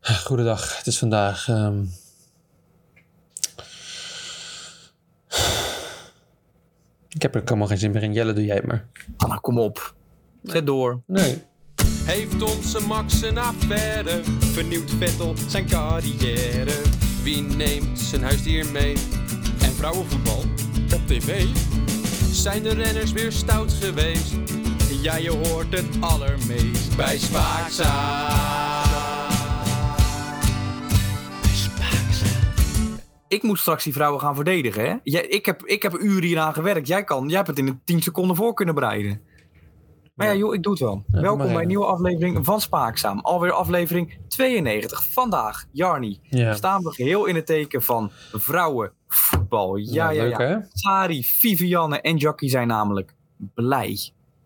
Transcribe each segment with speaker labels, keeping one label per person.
Speaker 1: goedendag. Het is vandaag. ehm, Ik heb er helemaal geen zin meer in. Jelle, doe jij het maar.
Speaker 2: Nou, kom op. Zet door.
Speaker 1: Nee.
Speaker 3: Heeft onze Max een affaire? Vernieuwt Vettel zijn carrière? Wie neemt zijn huisdier mee? En vrouwenvoetbal op tv? Zijn de renners weer stout geweest? Ja, je hoort het allermeest bij Spaakzaam.
Speaker 2: Ik moet straks die vrouwen gaan verdedigen, hè? Jij, ik, heb, ik heb uren hieraan gewerkt. Jij, kan, jij hebt het in de 10 seconden voor kunnen bereiden. Maar ja, joh, ik doe het wel.
Speaker 1: doe maar
Speaker 2: Welkom bij
Speaker 1: even.
Speaker 2: een nieuwe aflevering van Spaakzaam. Alweer aflevering 92. Vandaag, Jarni,
Speaker 1: Ja.
Speaker 2: staan we geheel in het teken van vrouwenvoetbal. Ja,
Speaker 1: Nou,
Speaker 2: ja,
Speaker 1: leuk,
Speaker 2: ja.
Speaker 1: hè?
Speaker 2: Sari, Vivianne en Jackie zijn namelijk blij.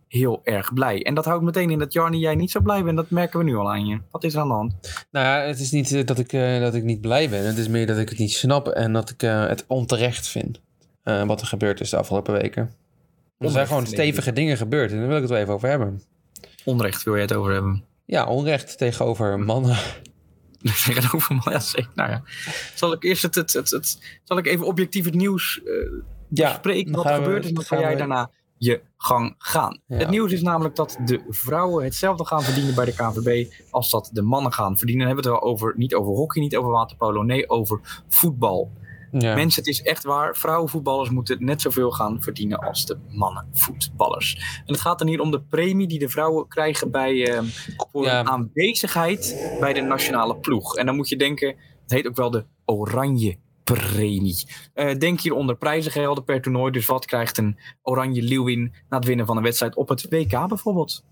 Speaker 2: Heel erg blij. En dat houdt meteen in dat Jarni, jij niet zo blij bent. Dat merken we nu al aan je. Wat is er aan de hand?
Speaker 1: Nou ja, het is niet eh, dat ik, eh, dat ik niet blij ben. Het is meer dat ik het niet snap en dat ik eh, het onterecht vind. eh, wat er gebeurd is de afgelopen weken. Er zijn
Speaker 2: Onrecht,
Speaker 1: gewoon
Speaker 2: denk ik.
Speaker 1: stevige dingen gebeurd en daar wil ik het wel even over hebben.
Speaker 2: Onrecht wil je het over hebben.
Speaker 1: Ja, onrecht tegenover mannen.
Speaker 2: Tegenover mij, ja zeker. Nou ja. Zal ik eerst het, het, het, het- zal ik even objectief het nieuws eh bespreken
Speaker 1: dan
Speaker 2: wat er
Speaker 1: gaan we-
Speaker 2: gebeurd is. En dan
Speaker 1: gaan
Speaker 2: kan jij
Speaker 1: we-
Speaker 2: daarna je gang gaan.
Speaker 1: Ja.
Speaker 2: Het nieuws is namelijk dat de vrouwen hetzelfde gaan verdienen bij de KNVB als dat de mannen gaan verdienen. Dan hebben we het wel over, niet over hockey, niet over waterpolo, nee over voetbal.
Speaker 1: Ja.
Speaker 2: Mensen, het is echt waar. Vrouwenvoetballers moeten net zoveel gaan verdienen als de mannenvoetballers. En het gaat dan hier om de premie die de vrouwen krijgen bij, ehm, voor
Speaker 1: Ja.
Speaker 2: hun aanwezigheid bij de nationale ploeg. En dan moet je denken, het heet ook wel de oranje premie. Eh, denk hieronder prijzengelden per toernooi. Dus wat krijgt een oranje leeuwin na het winnen van een wedstrijd op het WK bijvoorbeeld?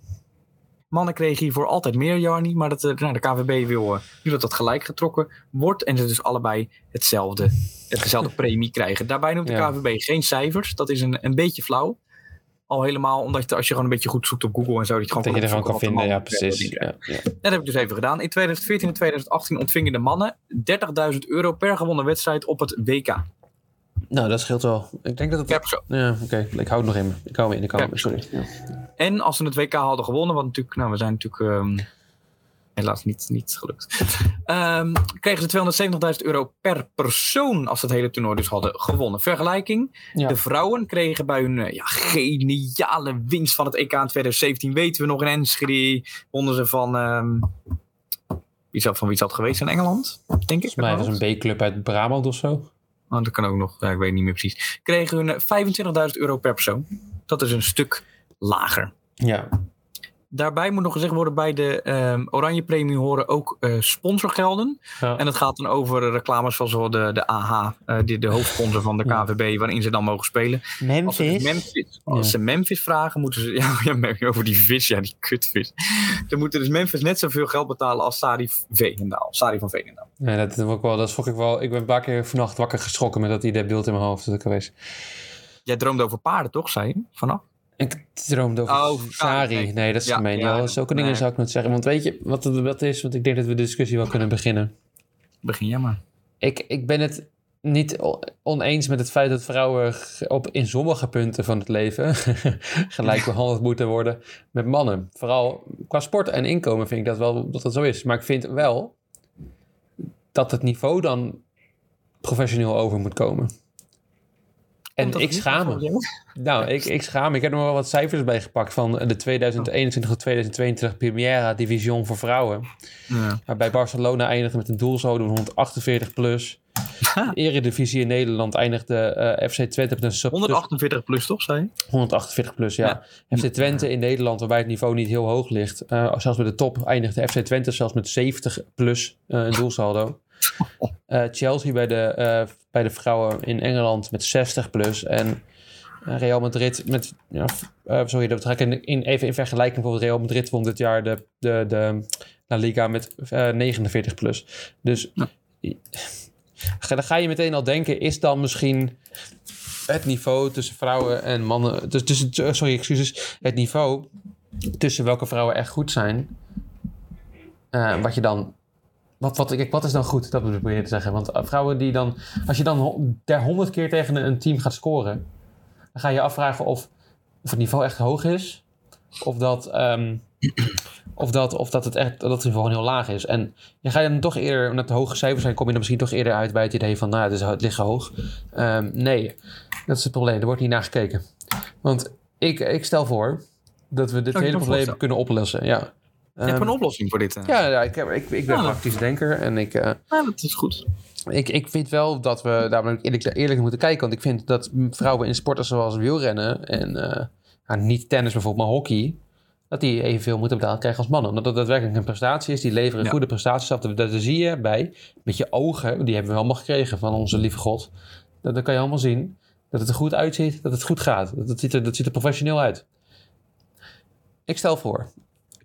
Speaker 2: Mannen kregen hiervoor altijd meer, Jarni. Maar dat, eh, nou, de KVB wil eh, nu dat dat gelijk getrokken wordt. En ze dus allebei hetzelfde hetzelfde premie krijgen. Daarbij noemt de
Speaker 1: Ja.
Speaker 2: KVB geen cijfers. Dat is een, een beetje flauw. Al helemaal omdat je, als je gewoon een beetje goed zoekt op Google en zo. Dat je, gewoon
Speaker 1: Dat je er gewoon kan
Speaker 2: opzoeken
Speaker 1: vinden, ja
Speaker 2: wat de mannen
Speaker 1: precies.
Speaker 2: verdienen.
Speaker 1: Ja, ja.
Speaker 2: Dat heb ik dus even gedaan. In 2014 en 2018 ontvingen de mannen 30.000 euro per gewonnen wedstrijd op het WK.
Speaker 1: Nou, dat scheelt wel. Ik denk dat het...
Speaker 2: Per persoon.
Speaker 1: Ja, oké. Ik hou het nog in me. Ik hou me in. Ik hou me. Sorry. Ja.
Speaker 2: En als ze het WK hadden gewonnen, want natuurlijk, nou, we zijn natuurlijk ehm, helaas niet, niet gelukt. Ehm, kregen ze 270.000 euro per persoon als ze het hele toernooi dus hadden gewonnen. Vergelijking,
Speaker 1: Ja.
Speaker 2: De vrouwen kregen bij hun eh, ja, geniale winst van het EK in 2017, weten we nog in Enschede, wonnen ze van. ehm, wie zou van wie is dat geweest in Engeland? Denk ik.
Speaker 1: Volgens mij was een B-club uit Brabant of zo.
Speaker 2: Oh, dat kan ook nog, ja, ik weet niet meer precies. Kregen hun eh, 25.000 euro per persoon. Dat is een stuk lager.
Speaker 1: Ja.
Speaker 2: Daarbij moet nog gezegd worden: bij de ehm Oranje Premie horen ook eh, sponsorgelden.
Speaker 1: Ja.
Speaker 2: En het gaat dan over reclames van zo de, de AH, eh, de, de hoofdsponsor van de
Speaker 1: Ja.
Speaker 2: KVB, waarin ze dan mogen spelen. Als ze, dus Memphis, als
Speaker 1: Ja.
Speaker 2: ze Memphis vragen, moeten ze. Ja, ja, merk je over die vis, ja, die kutvis. Dan moeten dus Memphis net zoveel geld betalen als Sari Veenendaal. Sari van Veenendaal.
Speaker 1: Ja, dat, vond ik wel, dat vond ik wel. Ik ben een paar keer vannacht wakker geschrokken met dat idee beeld in mijn hoofd dat ik er was.
Speaker 2: Jij droomde over paarden, toch? Zei je vanaf?
Speaker 1: Ik droomde over
Speaker 2: Oh,
Speaker 1: Sari.
Speaker 2: nee.
Speaker 1: Nee. dat is
Speaker 2: Ja,
Speaker 1: gemeen.
Speaker 2: ja,
Speaker 1: Ja, zulke dingen
Speaker 2: nee.
Speaker 1: zou ik nooit zeggen. Want weet je wat het wat is? Want ik denk dat we de discussie wel kunnen beginnen.
Speaker 2: Begin jij maar.
Speaker 1: Ik, ik ben het niet o- oneens met het feit dat vrouwen g- op, in sommige punten van het leven gelijk behandeld moeten worden met mannen. Vooral qua sport en inkomen vind ik dat wel dat dat zo is. Maar ik vind wel dat het niveau dan professioneel over moet komen. En ik schaam me. Nou, ik, ik schaam me. Ik heb er nog wel wat cijfers bij gepakt van de 2021 tot 2022 Primera Division voor vrouwen.
Speaker 2: Ja.
Speaker 1: Waarbij Barcelona eindigde met een doelsaldo van 148 plus. De Eredivisie in Nederland eindigde eh, FC Twente met een sub
Speaker 2: 148 plus, toch? Zei je?
Speaker 1: 148 plus, ja. FC Twente in Nederland, waarbij het niveau niet heel hoog ligt. eh, zelfs bij de top eindigde FC Twente zelfs met 70 plus eh, een doelsaldo. Eh, Chelsea bij de, eh, bij de vrouwen in Engeland met 60 plus. En eh, Real Madrid met... Ja, f- eh, sorry, dat ga ik in, in- even in vergelijking. Bijvoorbeeld Real Madrid won dit jaar de, de, de La Liga met eh, 49 plus. Dus i- dan ga je meteen al denken, is dan misschien het niveau tussen vrouwen en mannen. Dus, tussen- eh, sorry, excuses. Het niveau tussen welke vrouwen echt goed zijn. eh, wat je dan. Wat, wat, kijk, wat is dan goed? Dat probeer je te zeggen. Want eh, vrouwen die dan. Als je dan ho- der honderd keer tegen een- een team gaat scoren. dan ga je je afvragen of, of het niveau echt hoog is. Of dat. ehm, Of dat, of dat het echt dat het niveau gewoon heel laag is. En je gaat dan toch eerder, omdat de hoge cijfers zijn, kom je dan misschien toch eerder uit bij het idee van, nou, het, is, het ligt hoog. Ehm, nee, dat is het probleem. Er wordt niet naar gekeken. Want ik, ik stel voor dat we dit
Speaker 2: Zou
Speaker 1: hele
Speaker 2: ik me
Speaker 1: probleem
Speaker 2: voorstellen?
Speaker 1: kunnen oplossen. Ja.
Speaker 2: Je hebt
Speaker 1: Ehm,
Speaker 2: een oplossing voor dit. eh.
Speaker 1: ja, ja, ik, heb, ik, ik ben
Speaker 2: Ja.
Speaker 1: praktisch denker en ik, eh,
Speaker 2: Ja, dat is goed.
Speaker 1: ik, ik vind wel dat we daar maar eerlijk, eerlijk naar moeten kijken. Want ik vind dat vrouwen in sporten zoals wielrennen en eh, nou, niet tennis bijvoorbeeld, maar hockey, dat die evenveel moeten betaald krijgen als mannen. Omdat dat daadwerkelijk een prestatie is. Die leveren
Speaker 2: Ja.
Speaker 1: goede prestaties af. Dat, dat zie je bij, met je ogen, die hebben we allemaal gekregen van onze lieve God. Dat, dat kan je allemaal zien. Dat het er goed uitziet, dat het goed gaat. Dat, dat, ziet, er, dat ziet er professioneel uit. Ik stel voor,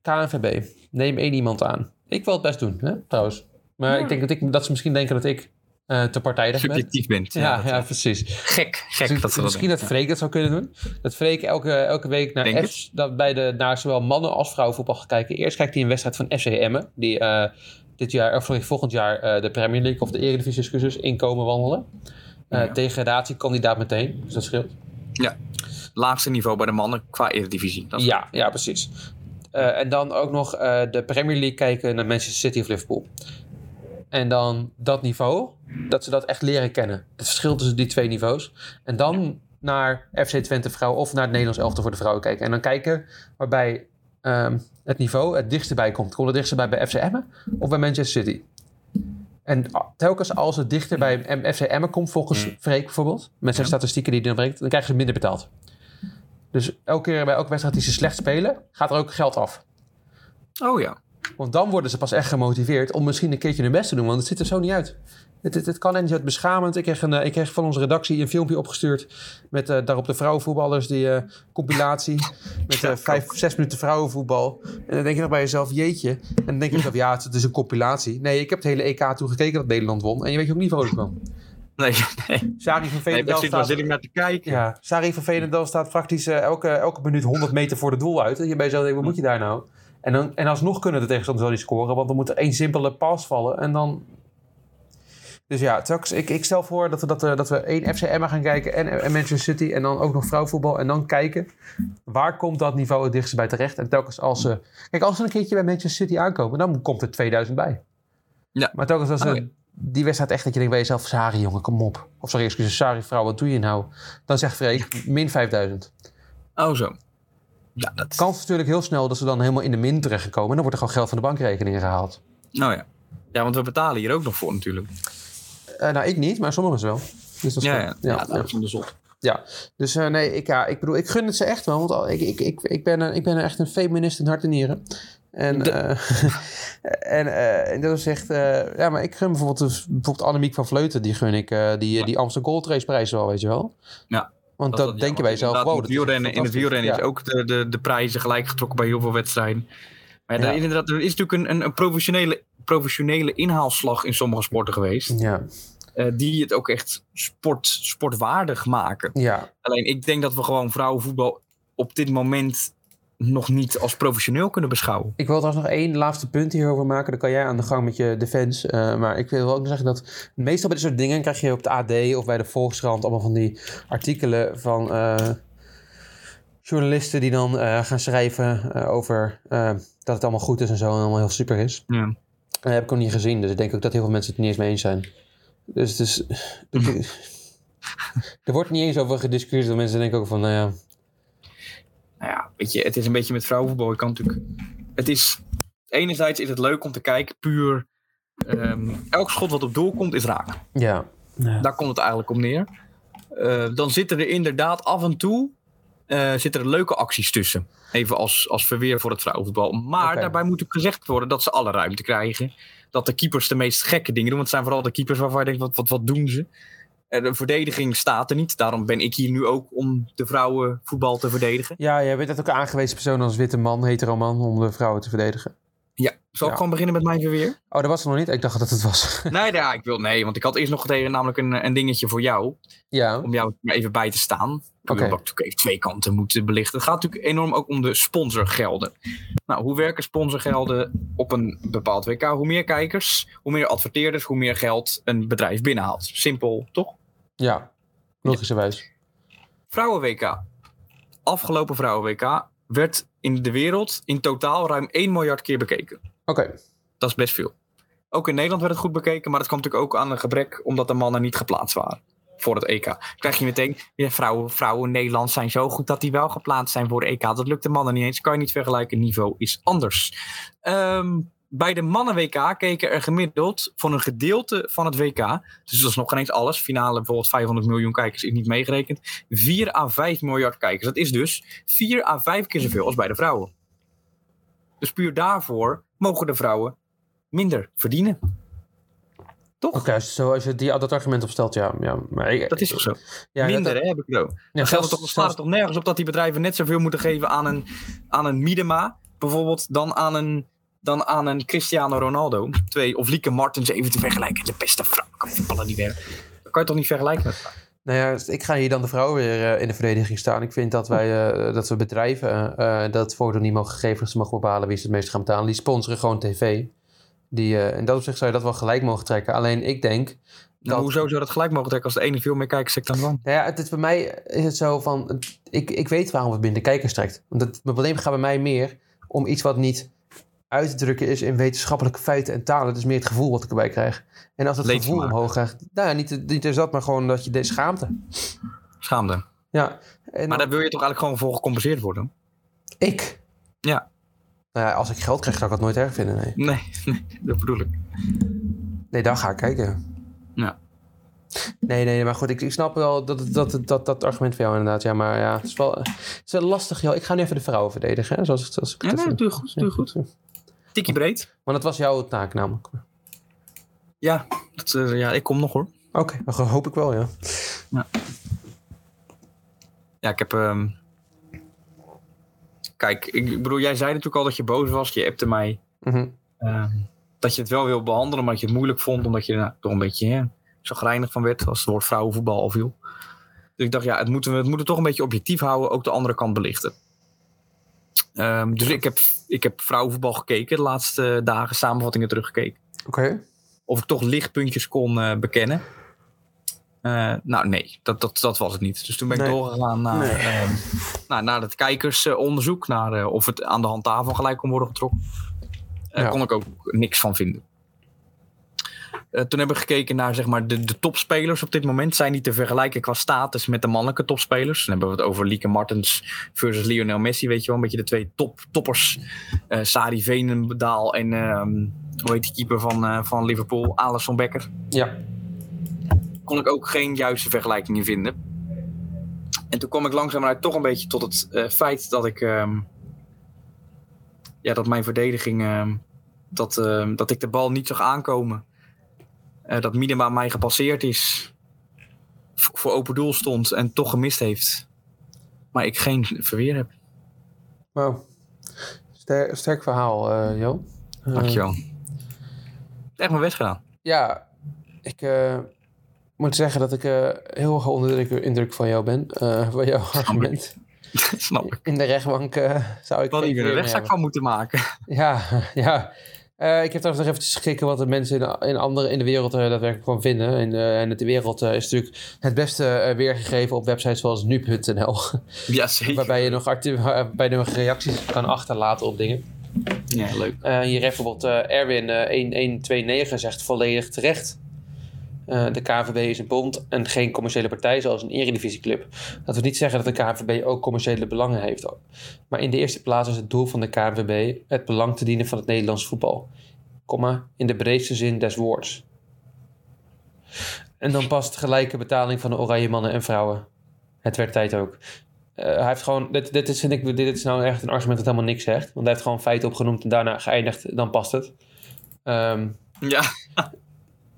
Speaker 1: KNVB, neem één iemand aan. Ik wil het best doen, hè, trouwens. Maar
Speaker 2: Ja.
Speaker 1: ik denk dat, ik, dat ze misschien denken dat ik eh, te partijdig ben.
Speaker 2: Subjectief bent.
Speaker 1: Ja,
Speaker 2: dat-
Speaker 1: ja, precies.
Speaker 2: Gek, gek dat ze dat
Speaker 1: Misschien
Speaker 2: doen.
Speaker 1: dat Freek dat zou kunnen doen. Dat Freek elke, elke week
Speaker 2: Denk
Speaker 1: naar,
Speaker 2: het.
Speaker 1: F, dat bij de, naar zowel mannen als vrouwen voetbal gaat kijken. Eerst kijkt hij een wedstrijd van FC Emmen. Die eh, dit jaar, of sorry, volgend jaar eh, de Premier League of de Eredivisie discussies inkomen wandelen. Eh
Speaker 2: Ja.
Speaker 1: Degradatiekandidaat meteen, dus dat scheelt.
Speaker 2: Laagste niveau bij de mannen qua Eredivisie. Dat is-
Speaker 1: Ja, ja, precies. Eh, en dan ook nog eh, de Premier League kijken naar Manchester City of Liverpool. En dan dat niveau, dat ze dat echt leren kennen. Het verschil tussen die twee niveaus. En dan naar FC Twente vrouwen of naar het Nederlands elftal voor de vrouwen kijken. En dan kijken waarbij ehm, het niveau het dichtst bij komt. Komt het dichtst bij bij FC Emmen of bij Manchester City? En a- telkens als het dichter bij M- FC Emmen komt, volgens Freek bijvoorbeeld, met zijn statistieken die hij dan brengt, dan krijgen ze minder betaald. Dus elke keer bij elke wedstrijd die ze slecht spelen, gaat er ook geld af.
Speaker 2: Oh ja.
Speaker 1: Want dan worden ze pas echt gemotiveerd om misschien een keertje hun best te doen, want het ziet er zo niet uit. Het, het, het kan en het is beschamend. Ik kreeg, een, eh, ik kreeg van onze redactie een filmpje opgestuurd met eh, daarop de vrouwenvoetballers, die eh, compilatie. Met eh,
Speaker 2: Ja,
Speaker 1: vijf, zes minuten vrouwenvoetbal. En dan denk je nog bij jezelf, jeetje. En dan denk je nog, ja, het is een compilatie. Nee, ik heb het hele EK toen gekeken dat Nederland won. En je weet je ook niet vrolijk van.
Speaker 2: Nee, nee.
Speaker 1: Sari van
Speaker 2: nee
Speaker 1: Veenendaal
Speaker 2: precies, waar
Speaker 1: staat...
Speaker 2: zit ik naar te kijken?
Speaker 1: Ja, Sari van Veenendaal staat praktisch eh, elke, elke minuut 100 meter voor het doel uit. En je bij jezelf denkt, wat moet je daar nou? En, dan, en alsnog kunnen de tegenstanders wel niet scoren, want er moet er één simpele pas vallen. En dan... Dus ja, telkens, ik, ik stel voor dat we, dat, we- dat we één FC Emma gaan kijken en, en Manchester City en dan ook nog vrouwenvoetbal. En dan kijken, waar komt dat niveau het dichtst bij terecht? En telkens als ze... Kijk, als ze een keertje bij Manchester City aankomen, dan komt er 2000 bij.
Speaker 2: Ja.
Speaker 1: Maar telkens als ze...
Speaker 2: Oké.
Speaker 1: Die wedstrijd echt dat je denkt bij jezelf, Sari jongen, kom op. Of sorry, excuses, Sari vrouw, wat doe je nou? Dan zegt Freek, min 5000.
Speaker 2: Oh zo. Ja, dat...
Speaker 1: Kans natuurlijk heel snel dat ze dan helemaal in de min terechtkomen. En dan wordt er gewoon geld van de bankrekening gehaald.
Speaker 2: Nou ja. Ja, want we betalen hier ook nog voor natuurlijk.
Speaker 1: Eh, nou, ik niet, maar sommigen wel. Dus dat is
Speaker 2: Ja,
Speaker 1: goed.
Speaker 2: ja.
Speaker 1: Ja, ja.
Speaker 2: dat is onderzocht.
Speaker 1: Dus eh, nee, ik, ja, ik bedoel, ik gun het ze echt wel. Want al- ik, ik, ik, ik, ben, een- ik ben echt een feminist in hart en nieren. En,
Speaker 2: De-
Speaker 1: eh, en, eh, en dat is echt... eh, ja, maar ik gun bijvoorbeeld, dus bijvoorbeeld Annemiek van Vleuten. Die gun ik eh, die, die Amsterdam Gold Race prijs wel, weet je wel.
Speaker 2: Ja.
Speaker 1: Want dat,
Speaker 2: is
Speaker 1: denk
Speaker 2: jammer.
Speaker 1: je bij jezelf,
Speaker 2: Inderdaad,
Speaker 1: wow, dat
Speaker 2: het
Speaker 1: is echt
Speaker 2: wielrennen, in het
Speaker 1: fantastisch.
Speaker 2: wielrennen
Speaker 1: Ja.
Speaker 2: is ook de, de, de prijzen gelijk getrokken bij heel veel wedstrijden. Maar ja,
Speaker 1: Ja.
Speaker 2: er- inderdaad, er is natuurlijk een, een, een professionele, professionele inhaalslag in sommige sporten geweest.
Speaker 1: Ja,
Speaker 2: eh, die het ook echt sport, sportwaardig maken.
Speaker 1: ja,
Speaker 2: Alleen ik denk dat we gewoon vrouwenvoetbal op dit moment nog niet als professioneel kunnen beschouwen.
Speaker 1: Ik wil trouwens nog één laatste punt hierover maken. Dan kan jij aan de gang met je defense. eh, maar ik wil wel ook zeggen dat meestal bij dit soort dingen krijg je op de AD of bij de Volkskrant allemaal van die artikelen van eh, journalisten die dan eh, gaan schrijven eh, over eh, dat het allemaal goed is en zo en allemaal heel super is.
Speaker 2: Ja.
Speaker 1: Dat heb ik ook niet gezien, dus ik denk ook dat heel veel mensen het niet eens mee eens zijn. Dus het is... er wordt niet eens over gediscussieerd. want Mensen denken ook van, nou ja,
Speaker 2: Nou ja, weet je, het is een beetje met vrouwenvoetbal. Je kan natuurlijk. Het is. Enerzijds is het leuk om te kijken, puur. ehm, elk schot wat op doel komt, is raak.
Speaker 1: ja.
Speaker 2: Daar komt het eigenlijk om neer. Eh, dan zitten er inderdaad af en toe eh, zitten er leuke acties tussen. Even als, als verweer voor het vrouwenvoetbal. Maar
Speaker 1: Oké.
Speaker 2: daarbij moet ook gezegd worden dat ze alle ruimte krijgen. Dat de keepers de meest gekke dingen doen. Want het zijn vooral de keepers waarvan je denkt, wat, wat, wat doen ze? Eh, de verdediging staat er niet. Daarom ben ik hier nu ook om de vrouwenvoetbal te verdedigen.
Speaker 1: Ja, jij bent net ook een aangewezen persoon als witte man, hetero man, om de vrouwen te verdedigen.
Speaker 2: Ja, zal
Speaker 1: Ja.
Speaker 2: ik gewoon beginnen met mijn verweer?
Speaker 1: Oh, dat was er nog niet? Ik dacht dat het was.
Speaker 2: Nee, ja, ik wil nee, want ik had eerst nog tegen namelijk een, een dingetje voor jou.
Speaker 1: ja.
Speaker 2: Om jou er even bij te staan.
Speaker 1: Oké.
Speaker 2: Oké. Dat natuurlijk even twee kanten moeten belichten. Het gaat natuurlijk enorm ook om de sponsorgelden. Nou, hoe werken sponsorgelden op een bepaald WK? Hoe meer kijkers, hoe meer adverteerders, hoe meer geld een bedrijf binnenhaalt. Simpel, toch?
Speaker 1: Ja. Logischerwijs.
Speaker 2: Vrouwen-WK. Afgelopen Vrouwen-WK werd in de wereld in totaal ruim 1 miljard keer bekeken.
Speaker 1: Oké.
Speaker 2: Dat is best veel. Ook in Nederland werd het goed bekeken, maar dat kwam natuurlijk ook aan een gebrek omdat de mannen niet geplaatst waren voor het EK. Krijg je meteen, ja, vrouwen, vrouwen in Nederland zijn zo goed dat die wel geplaatst zijn voor de EK. Dat lukt de mannen niet eens, kan je niet vergelijken, niveau is anders. Ehm, bij de mannen WK keken er gemiddeld van een gedeelte van het WK, dus dat is nog geen eens alles, finale bijvoorbeeld 500 miljoen kijkers is niet meegerekend, 4 à 5 miljard kijkers. Dat is dus 4 à 5 keer zoveel als bij de vrouwen. Dus puur daarvoor mogen de vrouwen minder verdienen.
Speaker 1: Oké, als je- zo als je die, dat argument opstelt, ja. ja maar ik-
Speaker 2: Dat is toch zo?
Speaker 1: ja,
Speaker 2: minder,
Speaker 1: dat-
Speaker 2: hè, heb ik het ook.
Speaker 1: ja,
Speaker 2: Dan geldt
Speaker 1: zelfs-
Speaker 2: het toch, slaat het toch nergens op dat die bedrijven net zoveel moeten geven aan een, aan een Miedema, bijvoorbeeld, dan aan een, dan aan een Cristiano Ronaldo. Twee, of Lieke Martens even te vergelijken. De beste vrouw, kan voetballen niet werken. Dat kan je toch niet vergelijken met elkaar?
Speaker 1: Nou ja, ik ga hier dan de vrouwen weer eh, in de verdediging staan. Ik vind dat wij eh, dat we bedrijven eh, dat voordeel niet mogen geven dat ze mogen bepalen wie ze het meest gaan betalen. Die sponsoren gewoon tv. Die, eh, in dat opzicht zou je dat wel gelijk mogen trekken. Alleen ik denk.
Speaker 2: Nou, hoezo zou dat gelijk mogen trekken als de ene veel meer kijkers trekt dan dan?
Speaker 1: Nou ja, het is bij mij is het zo van. het- Ik, ik weet waarom het minder kijkers trekt. Want het, het probleem gaat bij mij meer om iets wat niet uit te drukken is in wetenschappelijke feiten en talen. Het is meer het gevoel wat ik erbij krijg. En als het
Speaker 2: Leedvermaak.
Speaker 1: gevoel omhoog gaat. Nou ja, niet, niet eens dat, maar gewoon dat je de schaamte.
Speaker 2: Schaamde.
Speaker 1: Ja. En
Speaker 2: Maar daar wil je toch eigenlijk gewoon voor gecompenseerd worden?
Speaker 1: Ik?
Speaker 2: Ja.
Speaker 1: Nou ja, als ik geld krijg, zou ik dat nooit erg vinden, nee.
Speaker 2: Nee, nee, dat bedoel ik.
Speaker 1: Nee, daar ga ik kijken.
Speaker 2: Ja.
Speaker 1: Nee, nee, maar goed, ik, ik snap wel dat, dat, dat, dat, dat argument van jou inderdaad. Ja, maar ja, het is wel, het is wel lastig, joh. Ik ga nu even de vrouwen verdedigen, hè, zoals, zoals ik
Speaker 2: Ja,
Speaker 1: het
Speaker 2: nee,
Speaker 1: even-
Speaker 2: doe je goed, doe je goed. Tikkie breed.
Speaker 1: Want dat was jouw taak namelijk. Oké,
Speaker 2: Ja, dat, eh, ja, ik kom nog hoor.
Speaker 1: dat hoop ik wel, ja.
Speaker 2: Ja, ik heb. ehm, Kijk, ik bedoel, jij zei natuurlijk al dat je boos was. Je appte mij
Speaker 1: Mhm.
Speaker 2: ehm, dat je het wel wil behandelen, maar dat je het moeilijk vond. Omdat je er nou, toch een beetje hè, chagrijnig van werd als het woord vrouwenvoetbal al viel. Dus ik dacht, ja, het moeten we het moeten we toch een beetje objectief houden. Ook de andere kant belichten. Ehm, dus ik heb, ik heb vrouwenvoetbal gekeken de laatste eh, dagen, samenvattingen teruggekeken.
Speaker 1: Oké.
Speaker 2: Of ik toch lichtpuntjes kon eh, bekennen. Eh, nou, nee, dat, dat, dat was het niet. Dus toen ben ik
Speaker 1: Nee.
Speaker 2: doorgegaan naar, ehm, nou, naar het kijkersonderzoek. Naar eh, of het aan de hand daarvan gelijk kon worden getrokken. Daar
Speaker 1: Ja.
Speaker 2: kon ik ook niks van vinden. Eh, toen hebben we gekeken naar zeg maar, de, de topspelers op dit moment. Zijn die te vergelijken qua status met de mannelijke topspelers? Dan hebben we het over Lieke Martens versus Lionel Messi. Weet je wel, een beetje de twee top, toppers. Eh Sari Veenendaal en ehm, hoe heet die keeper van, eh, van Liverpool? Alisson Becker
Speaker 1: Ja.
Speaker 2: kon ik ook geen juiste vergelijking in vinden. En toen kwam ik langzamerhand toch een beetje tot het eh, feit dat ik. ehm, ja, dat mijn verdediging. ehm, dat, ehm, dat ik de bal niet zag aankomen. Eh, dat Minima mij gepasseerd is. v- voor open doel stond en toch gemist heeft. Maar ik geen verweer heb.
Speaker 1: Wow. Ster- sterk verhaal, eh Jo. Eh,
Speaker 2: Dankjewel. Echt mijn best gedaan.
Speaker 1: Ja, ik eh, moet zeggen dat ik eh, heel erg onder de indruk- indruk van jou ben. eh, van jouw argument.
Speaker 2: Snap ik.
Speaker 1: In de rechtbank eh, zou ik
Speaker 2: Wat
Speaker 1: geen
Speaker 2: ik er
Speaker 1: probleem
Speaker 2: een rechtszaak
Speaker 1: hebben.
Speaker 2: van moeten maken.
Speaker 1: Ja, ja. Eh, ik heb trouwens nog eventjes gekeken wat de mensen in, in, andere, in de wereld eh, daadwerkelijk van vinden. En, eh, en het- de wereld eh, is natuurlijk het beste eh, weergegeven op websites zoals nu.nl.
Speaker 2: Jazeker.
Speaker 1: waarbij je nog, actief, waarbij je nog reacties kan achterlaten op dingen.
Speaker 2: Ja, leuk.
Speaker 1: Eh, hier heeft bijvoorbeeld eh, Erwin eh, 1129 zegt volledig terecht. Eh, de KVB is een bond en geen commerciële partij zoals een eredivisieclub. Dat wil niet zeggen dat de KNVB ook commerciële belangen heeft. Maar in de eerste plaats is het doel van de KNVB het belang te dienen van het Nederlands voetbal. Komma, in de breedste zin des woords. En dan past gelijke betaling van de oranje mannen en vrouwen. Het werd tijd ook. Eh, hij heeft gewoon, dit, dit, is, vind ik, dit is nou echt een argument dat helemaal niks zegt. Want hij heeft gewoon feiten opgenoemd en daarna geëindigd, dan past het. Ehm,
Speaker 2: Ja.